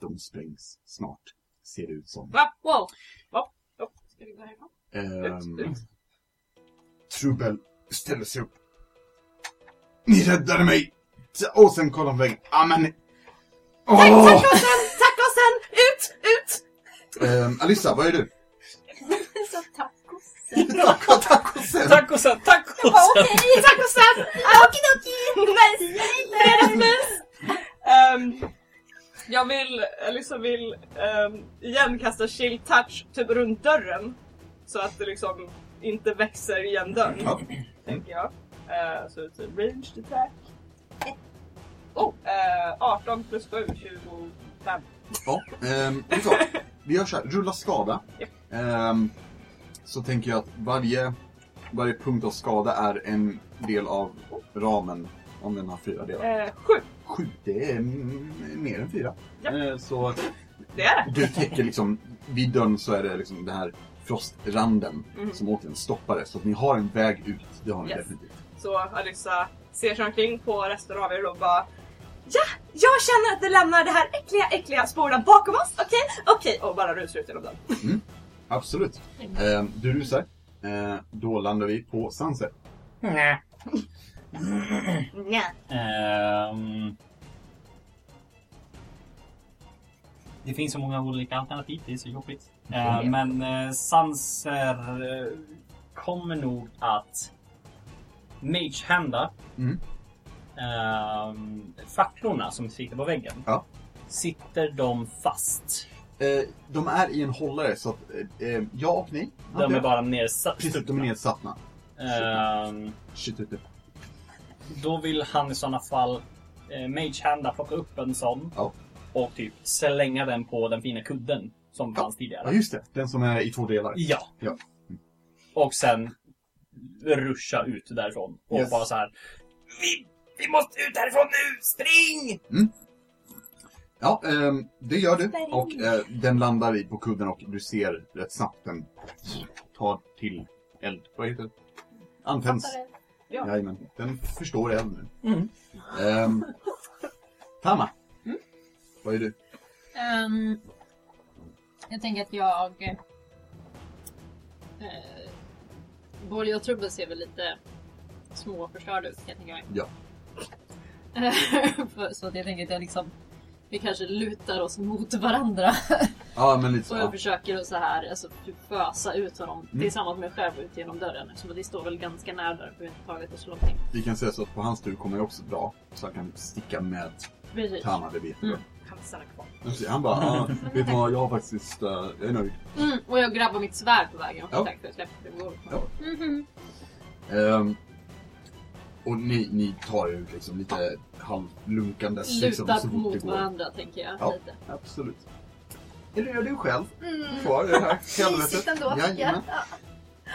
E: de sprängs snart, ser det ut som.
F: Va?
C: Wow!
F: Stopp. Ska vi gå härifrån?
E: Ehm,
F: Ut.
E: Trubbel ställer sig upp. Ni räddade mig! S- Och sen kollar han på väggen. Ah, men... Åh!
F: Tack och sen! Ut! Ut!
E: Ehm, Alissa, vad är du?
C: Så tacos.
E: Taco, taco sen.
B: Tacosen, tacosen!
F: Tack och sen! Okidoki! Nice! Ehm, jag vill, Elisa vill ehm, igen kasta chill touch typ runt dörren. Så att det liksom inte växer igen dörren.
E: Ja.
F: Tänker jag. Eh, så typ ranged attack. Oh, eh, 18 plus 7, 25.
E: Ja, ehm, det är så. Vi gör så här, rulla skada.
F: Ja.
E: Ehm, så tänker jag att varje, varje punkt av skada är en del av ramen. Om den har fyra delar.
F: Eh, 7,
E: Sju, det är mm, mer än fyra.
F: Ja.
E: Ehm, så
F: det är det.
E: Du täcker liksom, vid dörren så är det liksom den här frostranden
F: Mhm.
E: som återigen stoppar det. Så att ni har en väg ut, det har ni
F: Yes.
E: definitivt.
F: Så Alyssa ser sig omkring på resten av er och bara Ja, jag känner att vi lämnar det här äckliga, äckliga spåren bakom oss, okej? Okej, och bara rusar ut genom den.
E: Absolut. Eh, Ehm, du rusar. Ehm, då landar vi på Sanser.
B: Ehm. det finns så många olika alternativ, det är så jobbigt. Eh,
C: Mm.
B: Men eh, Sanser eh, kommer nog att mage-hända
E: Mm.
B: ehm, facklorna som sitter på väggen.
E: Ja.
B: Sitter de fast?
E: Eh, de är i en hållare så att eh, eh, ja och nej.
B: De är bara nersatta.
E: Precis, de är nedsatta.
B: Ehm,
E: Shit, shit, shit.
B: Då vill han i sådana fall eh, Magehanda plocka upp en sån
E: Ja.
B: och typ slänga den på den fina kudden som
E: Ja.
B: fanns
E: Ja,
B: tidigare.
E: just det. Den som är i två delar.
B: Ja.
E: Ja.
B: Och sen ruscha ut därifrån och
E: Yes.
B: bara så här. Vi, vi måste ut härifrån nu! Spring!
E: Ja, ehm, det gör du. Och eh, den landar i på kudden och du ser rätt snabbt den tar till eld. Vad heter det? Antänds.
A: Fattar
F: Ja.
E: Jajamän. Den förstår eld nu.
B: Mm.
E: Ehm, Tama. Vad är du?
C: Ehm, jag tänker att jag... Eh, Borg och Trubbel ser väl lite små och förstörda ut kan jag tänka mig.
E: Ja.
C: För- Så att jag tänker att jag liksom... Vi kanske lutar oss mot varandra.
E: Ja, men lite
C: Så
E: så.
C: jag
E: Ja.
C: försöker att så här, alltså, typ fösa ut honom
E: Mm.
C: tillsammans med mig själv ut genom dörren. Eftersom att vi står väl ganska nära dörren för vi har inte tagit oss så långt in.
E: Vi kan säga så att på hans tur kommer jag också dra. Så han kan sticka med
C: Precis.
E: Tama, det vet jag.
C: Mm.
F: Han stannar kvar.
E: Han bara, ah, vet du vad, jag har faktiskt, eh, jag är nöjd.
C: Mm, och jag grabbar mitt svärd på vägen också.
E: Ja.
C: Tack för att jag släppte det på golvet.
E: Ja.
C: Mhm.
E: Ehm, och ni, ni tar ut liksom lite halvlunkandes. liksom,
C: Lutar
E: så fort det
C: mot
E: går.
C: varandra tänker jag.
E: Ja.
C: Lite.
E: Absolut. Eller gör du själv?
A: Mm.
E: Kvar i det här
A: Mysigt ändå tycker jag.
E: Jajamän.
A: Ja,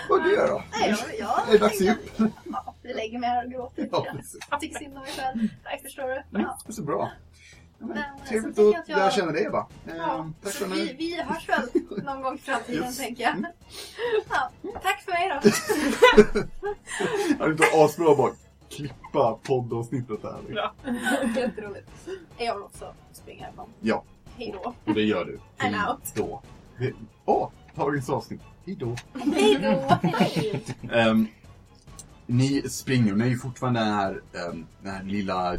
E: Vad du gör då?
A: nej, jag, jag
E: Är det dags
A: tänkte att vi- Ja, vi lägger mig här och gråter.
E: Ja,
A: Ja.
E: precis.
A: Jag tycker synd om mig själv. Nej, förstår du?
E: Mm,
A: Ja.
E: det är så bra. Ja, men,
A: Men, eh,
E: Trevligt
A: så tycker jag
E: att
A: att jag-
E: lära känna dig va? Ehm,
A: Ja,
E: tack
A: så
E: för
A: vi,
E: mig.
A: vi hörs väl någon gång i framtiden
E: Yes.
A: tänker jag.
E: Mm.
A: Ja, tack för mig då.
E: Ja, Det var asbra att bara klippa poddavsnittet där.
F: Ja.
A: Jätteroligt. Jag vill också springa härifrån.
E: Ja.
A: Hej då.
E: Och det gör du.
A: I'm
E: Hej
A: out.
E: då. Det- Åh, dagens avsnitt. Hej då.
A: Hej då.
E: Ehm, ni springer, ni är ju fortfarande den här, ehm, den här lilla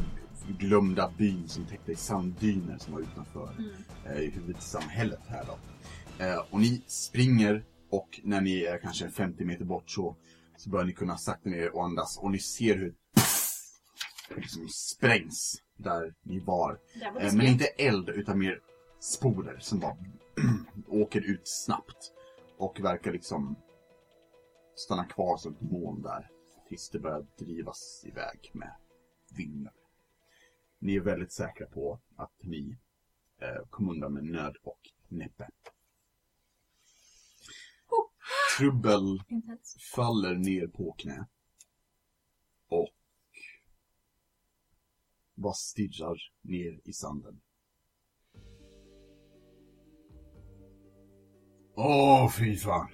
E: glömda byn som täckte i sanddyner som var utanför
C: Mm.
E: eh, i huvudsamhället här då. Eh, och ni springer och när ni är kanske 50 meter bort så, så börjar ni kunna sakta ner er och andas och ni ser hur liksom sprängs där ni var.
C: Det var
E: Eh,
C: det
E: men inte eld utan mer sporer som bara åker ut snabbt och verkar liksom stanna kvar som ett moln där tills det börjar drivas iväg med vindar. Ni är väldigt säkra på att ni eh, kom undan med nöd och näppe. Trubbel
C: Intens.
E: faller ner på knä. Och bara stirrar ner i sanden. Åh, fy fan.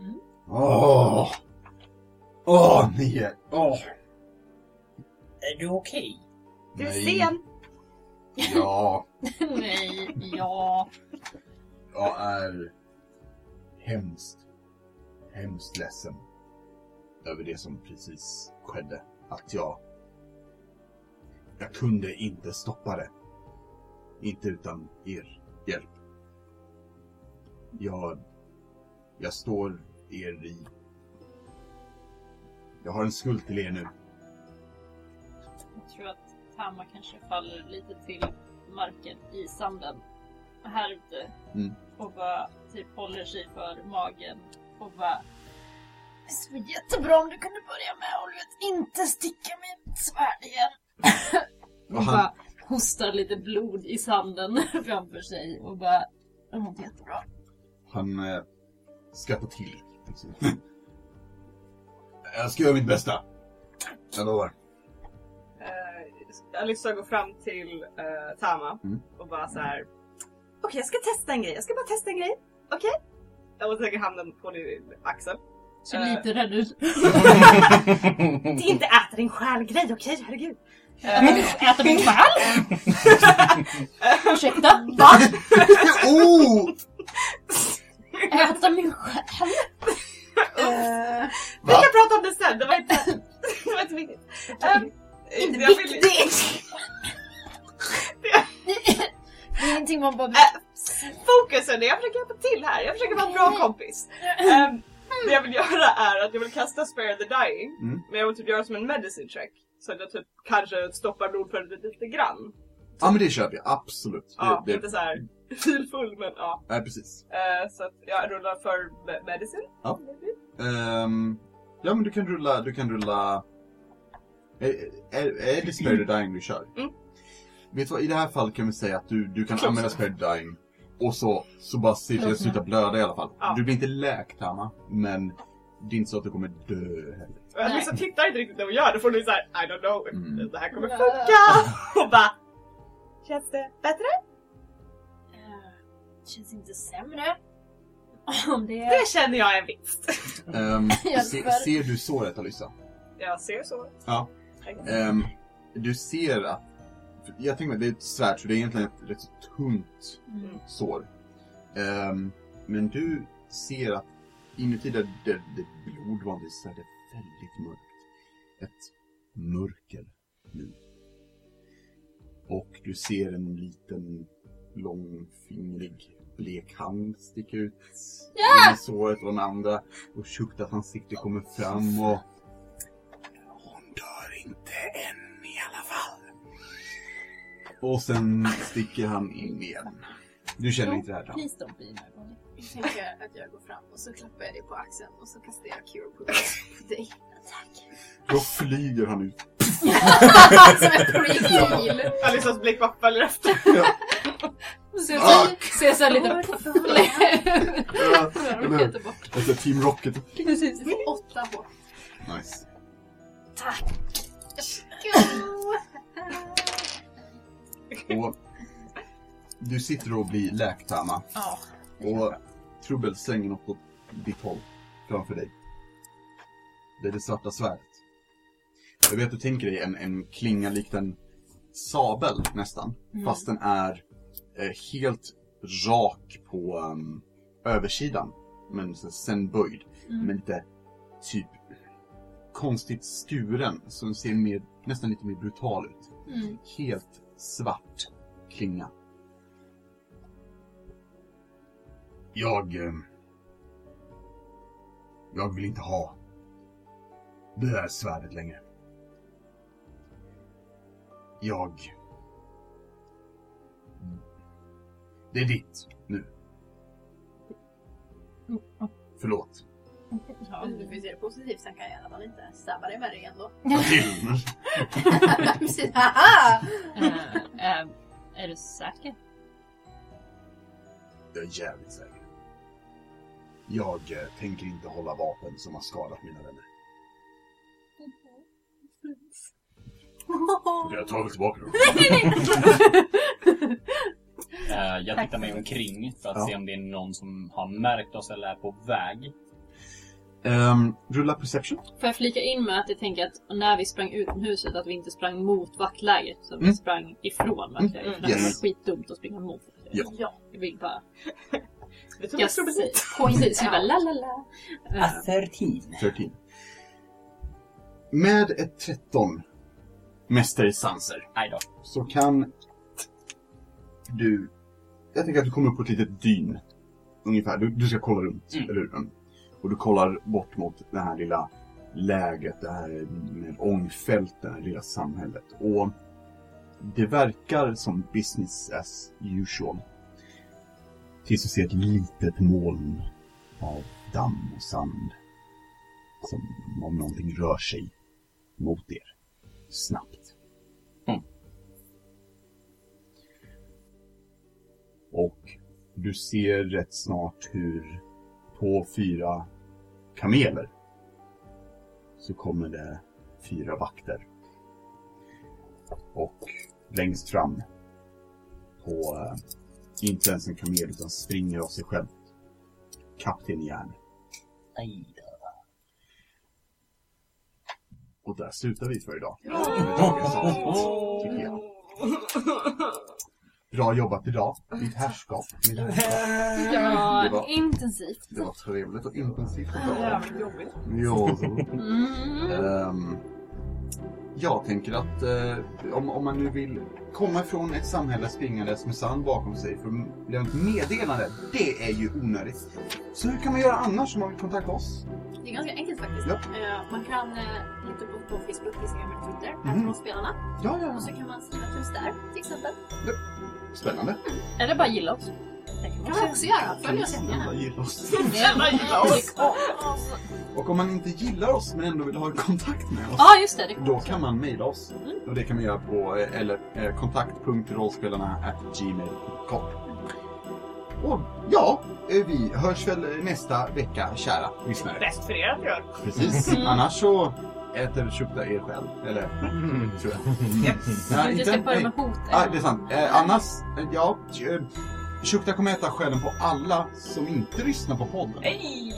C: Mm.
E: Åh! Åh, ni är... Åh!
B: Är du okej?
D: Du är
E: Nej.
D: sen.
E: Ja,
C: Nej, ja.
E: jag är hemskt, hemskt ledsen över det som precis skedde. Att jag... Jag kunde inte stoppa det. Inte utan er hjälp. Jag... Jag står er i... Jag har en skuld till er nu.
C: Jag tror att Tama kanske faller lite till marken i sanden. Här ute.
E: Mm.
C: Och bara typ håller sig för magen. Och bara... Det skulle vara jättebra om du kunde börja med att du vet, inte sticka med ett svärd igen.
E: Och
C: och
E: han-
C: bara hostar lite blod i sanden framför sig. Och bara... Det var inte jättebra.
E: Han eh, skrattar till. jag ska göra mitt bästa. Jag lovar.
F: Eh, Alyssa går fram till eh, Tama
E: Mm.
F: och bara så här. Okej, jag ska testa en grej. Jag ska bara testa en grej. Okej? Och lägger handen på din axel.
C: Så
F: Eh.
C: lite rädd ut.
F: Det är inte äta din själ-grej, okej? Herregud. Eh,
C: Äta min själ? Ursäkta?
E: oh!
C: Äta min själ?
A: Eh,
F: Ehm, Ehm, nice. Ehm, det jag vill göra är att jag vill kasta Spare the Dying.
E: Mm.
F: Men jag vill typ göra som en medicine check. Så att jag typ kanske stoppar blodflödet lite grann.
E: Ja men det köper jag, absolut.
F: Ja,
E: det, det,
F: inte såhär filfull men ja.
E: ja precis.
F: Eh, så att jag rullar för me- medicine.
E: Ja.
F: maybe.
E: Ehm, ja men du kan rulla, du kan rulla... Är, är, är det Spirit Dying du kör?
F: Mm.
E: Vet du vad, i det här fallet kan vi säga att du, du kan
F: Close
E: använda Spirit Dying och så, så bara se till att sluta blöda i alla fall.
F: Ja.
E: Du blir inte läkt Hanna, men det är inte så att du kommer dö heller.
F: Och jag
C: Nej.
F: liksom tittar inte riktigt när hon gör det för hon är såhär I don't know if
E: Mm.
F: det här kommer
A: Ja.
F: funka. Och bara Känns det bättre?
C: Eh, Känns inte sämre. Om det är...
F: Det känner jag är en vinst.
E: Ehm, se,
A: Hjälper.
E: ser du såret Alyssa?
F: Jag ser så.
E: Ja.
F: Thanks.
E: Ehm, du ser att... för Jag tänker mig, det är ett svärd så det är egentligen ett rätt så tungt
C: Mm.
E: sår. Ehm, men du ser att inuti där, där det blod vanligtvis så är det väldigt mörkt. Ett mörker nu. Och du ser en liten långfingrig blek hand sticka ut genom såret och den andra och tjockt ansikte kommer fram och hon dör inte än i alla fall. Och sen sticker han in igen. Du känner inte det här Tran.
C: Please don't be my body.
A: Jag tänker att jag går fram och så klappar jag dig på axeln och så kastar jag cure på dig.
E: Då flyger han ut.
C: Alltså,
A: Som en pre-heal.
F: Alissas blick bara följer efter.
C: Ser så- Ser såhär lite...
E: Ja, eller hur?
C: Rullar bort.
E: Efter Team Rocket.
C: Precis.
A: Åtta HP.
E: Nice. Och du sitter och blir läkt Hanna.
C: Ja.
E: Och Trubbel slänger något åt ditt håll. Framför dig. Det är det svarta svärdet. Jag vet att du tänker dig en, en klinga likt en sabel nästan.
C: Mm.
E: Fast den är eh, helt rak på ehm, översidan. Men så- sen böjd.
C: Mm.
E: Men lite typ konstigt skuren. Så den ser mer, nästan lite mer brutal ut.
C: Mm.
E: Helt svart klinga. Jag... eh, Jag vill inte ha det där svärdet längre. Jag... Det är ditt nu. Förlåt.
A: Om du vill se det positivt sen kan jag i alla fall inte stabba dig med det igen då.
E: Till.
A: Precis. Haha!
C: Eh, eh, Är du säker?
E: Jag är jävligt säker. Jag eh, tänker inte hålla vapen som har skadat mina vänner. Och Jag tar tillbaka dem.
B: Eh, jag
C: Tack.
B: tittar mig omkring för att
E: Ja.
B: se om det är någon som har märkt oss eller är på väg.
E: Ehm, rulla perception.
C: Får jag flika in med att jag tänker att när vi sprang ut från huset att vi inte sprang mot vaktlägret utan vi
E: Mm.
C: sprang ifrån vaktlägret.
F: Mm.
C: Det var
E: Yes.
C: skitdumt att springa mot vaktlägret.
E: Ja.
A: Ja.
C: Jag vill bara...
F: Vi tog
C: Jag
F: yes.
C: säger... Precis, vi bara la la la. Eh,
B: 13.
E: 13. Med ett 13 mästare i sanser
B: Nej då.
E: så kan du... Jag tänker att du kommer upp på ett litet dyn. Ungefär. Du, du ska kolla runt,
B: Mm.
E: eller hur? Mm. Och du kollar bort mot det här lilla läget, det här med ångfält, det här lilla samhället. Och det verkar som business as usual. Tills du ser ett litet moln av damm och sand. Som om någonting rör sig mot er. Snabbt. Och du ser rätt snart hur på fyra kameler så kommer det fyra vakter. Och längst fram på, eh, inte ens en kamel utan springer av sig själv, Kapten Järn.
B: Nej då.
E: Och där slutar vi för idag. Tycker jag. Bra jobbat idag. Ditt herrskap. Mitt herrskap.
C: Ja,
E: Det var-
C: intensivt.
E: Det var trevligt och intensivt. och bra.
F: Jävligt jobbigt.
E: Ja, så.
C: Mm.
E: Ehm, Jag tänker att eh, om, om man nu vill komma från ett samhälle springandes med sand bakom sig för att lämna ett meddelande, det är ju onödigt. Så hur kan man göra annars om man vill kontakta oss?
A: Det är ganska enkelt faktiskt.
E: Ja.
A: Eh, man kan eh, hitta på på Facebook, Instagram eller Twitter,
E: Mm.
A: mm. spelarna.
E: Ja, ja,
A: Och så kan man skriva till oss där till exempel.
E: Spännande.
C: Eller bara gilla oss. Det kan man
A: Det kan man också göra. Följ oss jättegärna.
E: Snälla, gilla oss.
C: också.
F: gilla oss!
E: Och om man inte gillar oss men ändå vill ha kontakt med oss,
C: Ja, ah, just det. det kan
E: då
C: man också
E: kan man mejla oss.
F: Mm.
E: Och det kan man göra på eh, eller, eh, kontakt.rollspelarna.gmail.com Och ja, eh, vi hörs väl nästa vecka, kära lyssnare.
F: Bäst Mm. för er att göra.
E: Precis. Annars så äter köpta er själv. Eller, tror jag.
C: göra.
E: Nej,
C: Du ska börja
E: nej.
C: med hot.
E: Ah, det är sant. Eh, annars, eh, ja. Shukta kommer äta skälen på alla som inte lyssnar på podden.
F: Nej!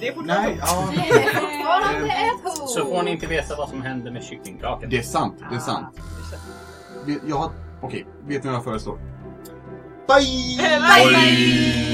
F: Det är fortfarande
E: Nej, ja.
A: Det är fortfarande ett hot!
B: Så får ni inte veta vad som händer med kycklingkakan.
E: Det är sant, det är sant. Vi- Jag har... Okej, vet ni vad jag föreslår? Bye!
F: Bye, bye!
E: Bye!